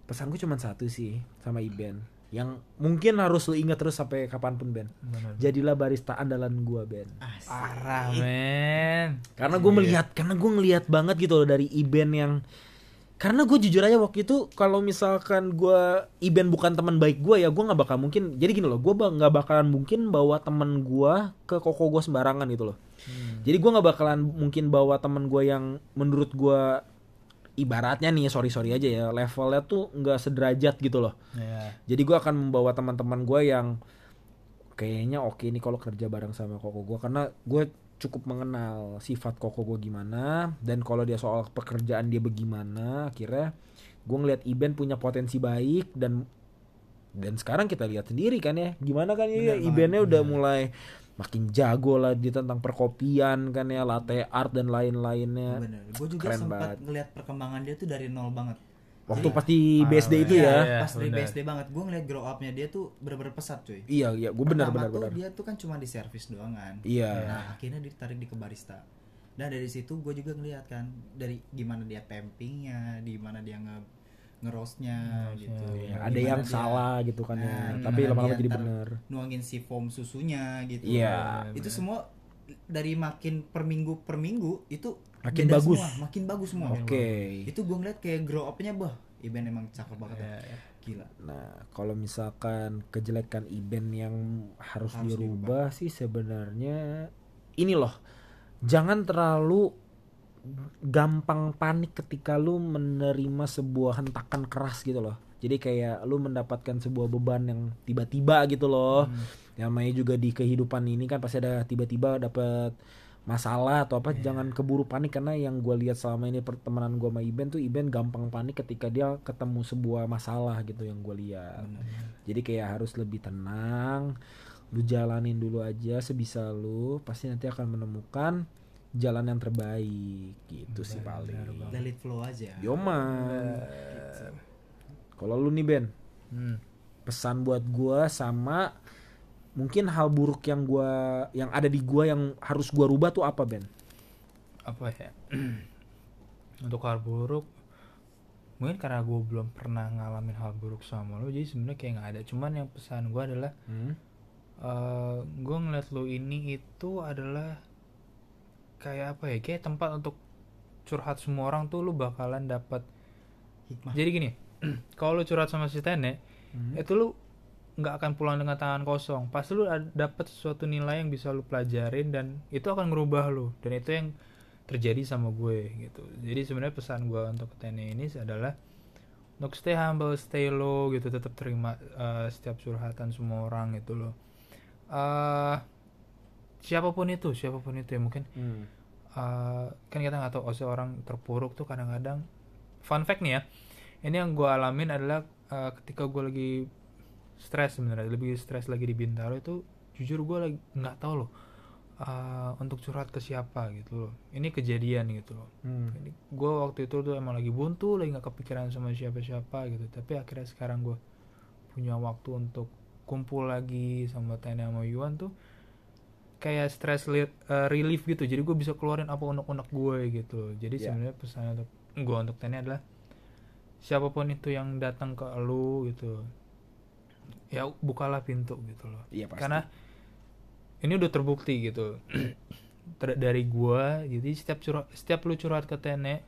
[SPEAKER 2] Pesan gue cuman satu sih sama Iben yang mungkin harus lu ingat terus sampai kapanpun Ben.
[SPEAKER 3] Benar.
[SPEAKER 2] Jadilah barista andalan gua Ben.
[SPEAKER 3] parah men
[SPEAKER 2] Karena gue melihat, karena gue ngelihat banget gitu loh dari Iben yang karena gue jujur aja waktu itu kalau misalkan gue Iben bukan teman baik gue ya gue nggak bakal mungkin jadi gini loh gue ba- nggak bakalan mungkin bawa teman gue ke koko gue sembarangan gitu loh jadi gue nggak bakalan mungkin bawa teman gue yang menurut gue ibaratnya nih sorry sorry aja ya levelnya tuh nggak sederajat gitu loh
[SPEAKER 3] ya
[SPEAKER 2] jadi gue akan membawa teman-teman gue yang kayaknya oke nih kalau kerja bareng sama koko gue karena gue cukup mengenal sifat koko gue gimana dan kalau dia soal pekerjaan dia bagaimana akhirnya gue ngeliat Iben punya potensi baik dan dan sekarang kita lihat sendiri kan ya gimana kan ya Ibennya udah mulai makin jago lah dia tentang perkopian kan ya latte art dan lain-lainnya
[SPEAKER 4] bener gue juga
[SPEAKER 2] Keren
[SPEAKER 4] sempat
[SPEAKER 2] banget.
[SPEAKER 4] ngeliat perkembangan dia tuh dari nol banget
[SPEAKER 2] waktu pasti BSD itu ya
[SPEAKER 3] Iya,
[SPEAKER 4] pas dari
[SPEAKER 3] bener.
[SPEAKER 4] BSD banget gue ngeliat grow upnya dia tuh bener-bener pesat cuy
[SPEAKER 2] iya iya gue benar
[SPEAKER 4] Pertama
[SPEAKER 2] benar
[SPEAKER 4] tuh
[SPEAKER 2] benar
[SPEAKER 4] dia tuh kan cuma di servis doang kan
[SPEAKER 2] Iya.
[SPEAKER 4] nah akhirnya dia ditarik di ke barista nah dari situ gue juga ngeliat kan dari gimana dia tempingnya di mana dia nge ngerosnya gitu
[SPEAKER 2] Ya,
[SPEAKER 4] Gimana
[SPEAKER 2] ada yang
[SPEAKER 4] dia
[SPEAKER 2] salah gitu kan ya
[SPEAKER 4] Nah,
[SPEAKER 2] tapi
[SPEAKER 4] gimana
[SPEAKER 2] lama-lama
[SPEAKER 4] dia
[SPEAKER 2] jadi
[SPEAKER 4] ntar
[SPEAKER 2] benar
[SPEAKER 4] nuangin si foam susunya gitu
[SPEAKER 2] Iya.
[SPEAKER 4] itu semua dari makin per minggu per minggu itu
[SPEAKER 2] Makin
[SPEAKER 4] beda
[SPEAKER 2] bagus.
[SPEAKER 4] semua, makin bagus semua
[SPEAKER 2] oke
[SPEAKER 4] itu gue ngeliat kayak grow upnya bah Iben emang cakep banget
[SPEAKER 2] Iya.
[SPEAKER 3] Iya,
[SPEAKER 4] ya. gila
[SPEAKER 2] Nah, kalau misalkan kejelekan Iben yang harus,
[SPEAKER 4] Harus
[SPEAKER 2] dirubah sih sebenarnya ini loh. Jangan terlalu gampang panik ketika lu menerima sebuah hentakan keras gitu loh. Jadi kayak lu mendapatkan sebuah beban yang tiba-tiba gitu loh. Yang namanya juga di kehidupan ini kan pasti ada tiba-tiba dapat masalah atau apa jangan keburu panik karena yang gue lihat selama ini pertemanan gue sama Iben tuh Iben gampang panik ketika dia ketemu sebuah masalah gitu yang gue lihat jadi kayak harus lebih tenang lu jalanin dulu aja sebisa lu pasti nanti akan menemukan jalan yang terbaik gitu sih paling
[SPEAKER 4] let it flow aja Gitu.
[SPEAKER 2] Yoma kalau lu nih Ben
[SPEAKER 3] Hmm.
[SPEAKER 2] pesan buat gua sama mungkin hal buruk yang gua yang ada di gua yang harus gua rubah tuh apa Ben
[SPEAKER 3] apa ya untuk hal buruk mungkin karena gue belum pernah ngalamin hal buruk sama lo jadi sebenarnya kayak nggak ada cuman yang pesan gue adalah gue eh, ngeliat lu ini itu adalah kayak apa ya kayak tempat untuk curhat semua orang tuh lu bakalan dapat
[SPEAKER 4] Hikmah.
[SPEAKER 3] jadi gini kalau lu curhat sama si Tene
[SPEAKER 2] Hmm.
[SPEAKER 3] itu lu nggak akan pulang dengan tangan kosong pasti lu ad- dapat sesuatu nilai yang bisa lu pelajarin dan itu akan ngerubah lu dan itu yang terjadi sama gue gitu jadi sebenarnya pesan gue untuk Tene ini adalah untuk stay humble, stay low gitu, tetap terima eh, setiap curhatan semua orang gitu loh. eh siapapun itu, siapapun itu ya mungkin
[SPEAKER 2] Hmm.
[SPEAKER 3] eh, kan kita nggak tahu oh, orang terpuruk tuh kadang-kadang fun fact nih ya. Ini yang gue alamin adalah eh, ketika gue lagi stres sebenarnya, lebih stres lagi di Bintaro itu jujur gue lagi nggak tahu loh eh, untuk curhat ke siapa gitu loh. Ini kejadian gitu loh
[SPEAKER 2] Hmm.
[SPEAKER 3] gue waktu itu tuh emang lagi buntu lagi nggak kepikiran sama siapa-siapa gitu tapi akhirnya sekarang gue punya waktu untuk kumpul lagi sama Tanya sama Yuan tuh kayak stress li- eh, relief gitu jadi gue bisa keluarin apa unek-unek gue gitu jadi
[SPEAKER 2] Ya.
[SPEAKER 3] sebenarnya pesan untuk gue untuk Tanya adalah siapapun itu yang datang ke lu gitu ya bukalah pintu gitu loh
[SPEAKER 2] Iya pasti.
[SPEAKER 3] karena ini udah terbukti gitu Ter- dari gua jadi setiap curhat setiap lu curhat ke Tene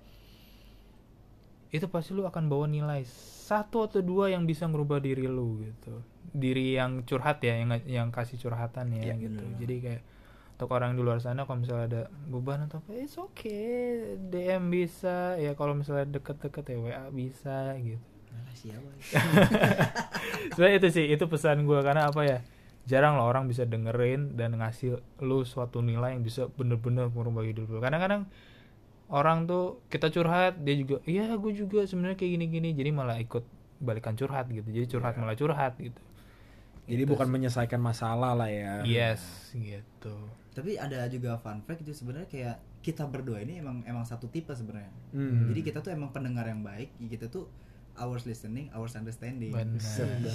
[SPEAKER 3] itu pasti lu akan bawa nilai satu atau dua yang bisa ngerubah diri lu gitu diri yang curhat ya yang yang kasih curhatan
[SPEAKER 2] Iya,
[SPEAKER 3] ya gitu jadi kayak untuk orang di luar sana kalau misalnya ada beban atau apa it's okay DM bisa ya kalau misalnya deket-deket ya WA bisa gitu
[SPEAKER 4] ya?
[SPEAKER 3] Sebenarnya itu sih itu pesan gua karena apa ya jarang lah orang bisa dengerin dan ngasih lu suatu nilai yang bisa bener-bener merubah hidup lu. Kadang-kadang orang tuh kita curhat dia juga iya gue juga sebenarnya kayak gini-gini jadi malah ikut balikan curhat gitu jadi curhat malah curhat gitu
[SPEAKER 2] Jadi bukan menyelesaikan masalah lah ya.
[SPEAKER 4] Iya.
[SPEAKER 3] yes gitu
[SPEAKER 4] Tapi ada juga fun fact itu sebenarnya kayak kita berdua ini emang emang satu tipe sebenarnya.
[SPEAKER 2] Hmm.
[SPEAKER 4] Jadi kita tuh emang pendengar yang baik, kita tuh ours listening, ours understanding.
[SPEAKER 3] benar
[SPEAKER 2] Iya.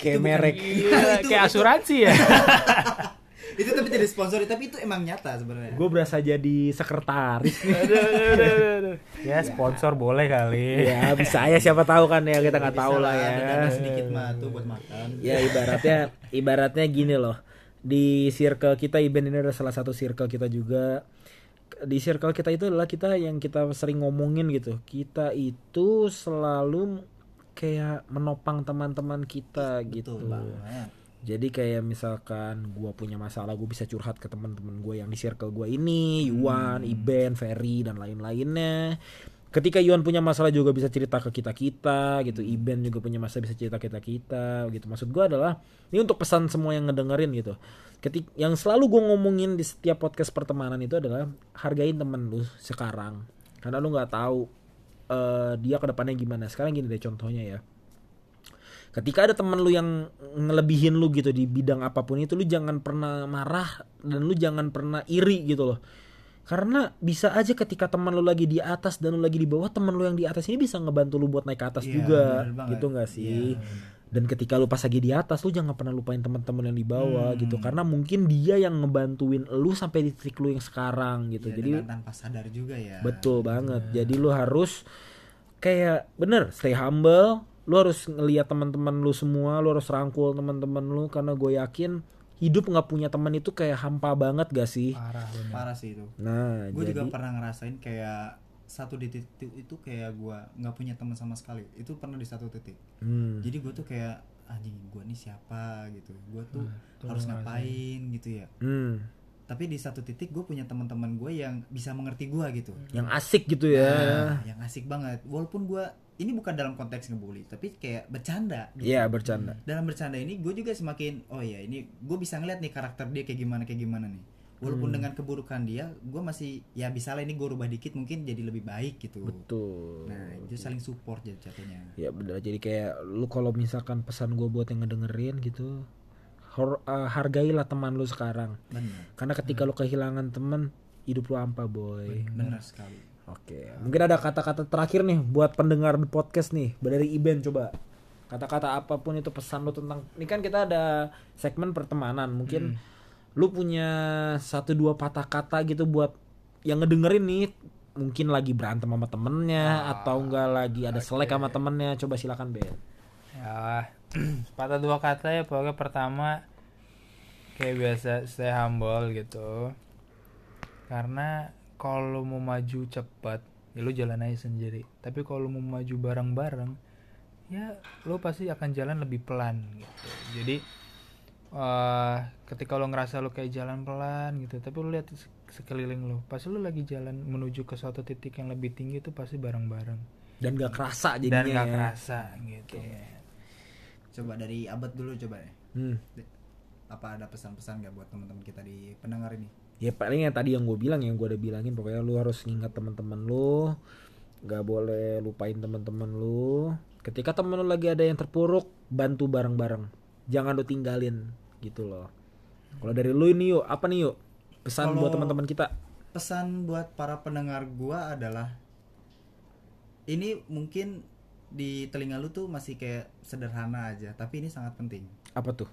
[SPEAKER 2] Kayak merek.
[SPEAKER 4] Iya, itu-
[SPEAKER 3] kayak asuransi ya
[SPEAKER 4] itu tapi tidak sponsor, tapi itu emang nyata sebenarnya.
[SPEAKER 2] Gue berasa jadi sekretaris nih.
[SPEAKER 3] Aduh, aduh, aduh, aduh. Iya. ya sponsor boleh kali
[SPEAKER 2] ya bisa ya siapa tahu kan ya kita nggak
[SPEAKER 4] Iya, Bisa
[SPEAKER 2] tahu lah ya.
[SPEAKER 4] ada dana sedikit mah tuh buat makan.
[SPEAKER 2] Ya ibaratnya ibaratnya gini loh. Di circle kita event ini adalah salah satu circle kita juga. Di circle kita itu adalah kita yang kita sering ngomongin gitu. Kita itu selalu kayak menopang teman-teman kita gitu.
[SPEAKER 4] Betul banget.
[SPEAKER 2] Jadi kayak misalkan gua punya masalah, gue bisa curhat ke teman-teman gue yang di circle gue ini, Yuan, Iben, Ferry dan lain-lainnya. Ketika Yuan punya masalah juga bisa cerita ke kita kita, gitu. Iben juga punya masalah bisa cerita ke kita kita, gitu. Maksud gua adalah ini untuk pesan semua yang ngedengerin gitu. Ketik yang selalu gue ngomongin di setiap podcast pertemanan itu adalah hargain temen lu sekarang, karena lu nggak tahu eh, dia kedepannya gimana. Sekarang gini deh contohnya ya ketika ada teman lu yang ngelebihin lu gitu di bidang apapun itu lu jangan pernah marah dan lu jangan pernah iri gitu loh karena bisa aja ketika teman lu lagi di atas dan lu lagi di bawah teman lu yang di atas ini bisa ngebantu lu buat naik ke atas
[SPEAKER 4] Iya,
[SPEAKER 2] juga
[SPEAKER 4] bener banget. Iya.
[SPEAKER 2] gitu nggak sih dan ketika lu pas lagi di atas lu jangan pernah lupain teman-teman yang di bawah
[SPEAKER 4] Hmm.
[SPEAKER 2] gitu karena mungkin dia yang ngebantuin lu sampai di titik lu yang sekarang gitu
[SPEAKER 4] Ya,
[SPEAKER 2] jadi
[SPEAKER 4] dengan tanpa sadar juga ya.
[SPEAKER 2] Betul banget. Jadi lu harus kayak bener stay humble. Lu harus ngelihat teman-teman lu semua, lu harus rangkul teman-teman lu karena gue yakin hidup nggak punya teman itu kayak hampa banget gak sih?
[SPEAKER 3] parah bener.
[SPEAKER 4] Parah sih itu.
[SPEAKER 2] Nah,
[SPEAKER 4] Gue
[SPEAKER 2] jadi
[SPEAKER 4] juga pernah ngerasain kayak satu di titik itu kayak gue nggak punya teman sama sekali. Itu pernah di satu titik.
[SPEAKER 2] Hmm.
[SPEAKER 4] Jadi gue tuh kayak anjing gue nih siapa gitu. Gue tuh harus ngapain gitu ya.
[SPEAKER 2] Hmm.
[SPEAKER 4] Tapi di satu titik gue punya teman-teman gue yang bisa mengerti gue gitu.
[SPEAKER 2] yang asik gitu ya.
[SPEAKER 4] Nah, yang asik banget. Walaupun gue ini bukan dalam konteks ngebully, tapi kayak bercanda.
[SPEAKER 2] Iya, bercanda.
[SPEAKER 4] dalam bercanda ini gue juga semakin oh ya ini gue bisa ngeliat nih karakter dia kayak gimana kayak gimana nih walaupun dengan keburukan dia gue masih ya bisa lah ini gue rubah dikit mungkin jadi lebih baik gitu
[SPEAKER 2] Betul.
[SPEAKER 4] nah itu saling support jadi jatuhnya
[SPEAKER 2] Ya bener jadi kayak lu kalau misalkan pesan gue buat yang ngedengerin gitu hor- eh, hargailah teman lu sekarang.
[SPEAKER 4] benar
[SPEAKER 2] Karena ketika
[SPEAKER 4] Hmm.
[SPEAKER 2] lu kehilangan teman, hidup lu hampa, boy.
[SPEAKER 4] benar sekali
[SPEAKER 2] Oke, mungkin ada kata-kata terakhir nih buat pendengar the podcast nih dari Iben coba. Kata-kata apapun itu pesan lu tentang ini kan kita ada segmen pertemanan.
[SPEAKER 3] Hmm.
[SPEAKER 2] Mungkin lu punya satu dua patah kata gitu buat yang ngedengerin nih mungkin lagi berantem sama temennya
[SPEAKER 3] Ah,
[SPEAKER 2] atau enggak lagi ada selek sama temennya coba silakan Ben
[SPEAKER 3] Ya, sepatah dua kata ya pokoknya pertama kayak biasa stay humble gitu karena kalau mau maju cepat ya lu jalan aja sendiri tapi kalau mau maju bareng-bareng ya lu pasti akan jalan lebih pelan gitu jadi eh ketika lo ngerasa lo kayak jalan pelan gitu tapi lo lihat se- sekeliling lo pasti lo lagi jalan menuju ke suatu titik yang lebih tinggi itu pasti bareng-bareng
[SPEAKER 2] dan gak kerasa jadinya
[SPEAKER 3] dan gak
[SPEAKER 2] ya.
[SPEAKER 3] kerasa gitu men.
[SPEAKER 4] Coba dari abad dulu coba ya.
[SPEAKER 2] Hmm.
[SPEAKER 4] De- Apa ada pesan-pesan nggak buat teman-teman kita di pendengar ini?
[SPEAKER 2] ya paling yang tadi yang gue bilang yang gue udah bilangin pokoknya lu harus ngingat teman-teman lu nggak boleh lupain teman-teman lu ketika temen lu lagi ada yang terpuruk bantu bareng-bareng jangan lu tinggalin gitu loh kalau dari lu ini yuk apa nih yuk pesan buat
[SPEAKER 4] Kalau-
[SPEAKER 2] teman-teman kita
[SPEAKER 4] pesan buat para pendengar gua adalah ini mungkin di telinga lu tuh masih kayak sederhana aja, tapi ini sangat penting.
[SPEAKER 2] apa tuh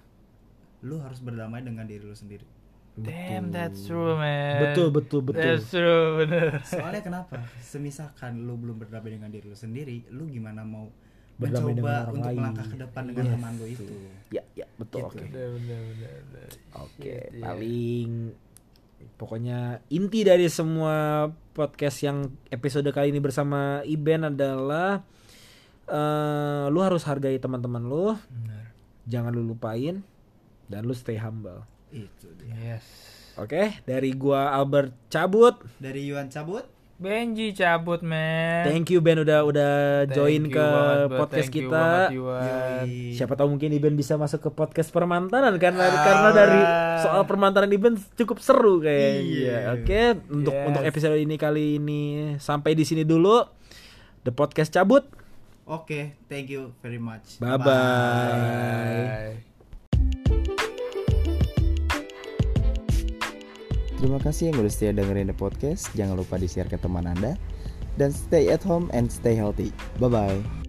[SPEAKER 4] Lu harus berdamai dengan diri lu sendiri.
[SPEAKER 3] damn that's true man
[SPEAKER 2] betul betul betul
[SPEAKER 3] that's true bener
[SPEAKER 4] Soalnya kenapa? Semisalkan lu belum berdamai dengan diri lu sendiri, lu gimana mau
[SPEAKER 2] Berdamai dengan
[SPEAKER 4] mencoba
[SPEAKER 2] orang
[SPEAKER 4] untuk
[SPEAKER 2] lain. Iya.
[SPEAKER 4] melangkah ke depan dengan
[SPEAKER 2] Yes,
[SPEAKER 4] teman lu itu?
[SPEAKER 2] ya ya betul oke
[SPEAKER 3] bener bener bener, bener.
[SPEAKER 2] Oke,
[SPEAKER 3] Shit, iya.
[SPEAKER 2] paling pokoknya inti dari semua podcast yang episode kali ini bersama Iben adalah eh lu harus hargai teman-teman lu,
[SPEAKER 3] Bener.
[SPEAKER 2] jangan lu lupain dan lu stay humble.
[SPEAKER 4] Itu dia.
[SPEAKER 3] yes
[SPEAKER 2] Oke, dari gua Albert cabut.
[SPEAKER 4] Dari Yuan cabut.
[SPEAKER 3] Benji cabut men
[SPEAKER 2] Thank you Ben udah udah
[SPEAKER 3] Eh. Thank
[SPEAKER 2] join
[SPEAKER 3] you
[SPEAKER 2] ke
[SPEAKER 3] banget, bro.
[SPEAKER 2] podcast
[SPEAKER 3] Thank you
[SPEAKER 2] kita.
[SPEAKER 3] banget, Iwan.
[SPEAKER 4] Yoi.
[SPEAKER 2] Siapa tahu mungkin Iben bisa masuk ke podcast permantanan karena karena dari
[SPEAKER 3] Ah.
[SPEAKER 2] soal permantanan Iben cukup seru kayaknya. Oke, untuk
[SPEAKER 3] Iya. Yes.
[SPEAKER 2] untuk episode ini kali ini sampai di sini dulu. The podcast cabut.
[SPEAKER 4] Oke, thank you very much.
[SPEAKER 2] Bye-bye.
[SPEAKER 3] Bye.
[SPEAKER 4] Terima kasih yang udah setia dengerin the podcast. Jangan lupa di-share ke teman Anda. Dan stay at home and stay healthy. Bye-bye.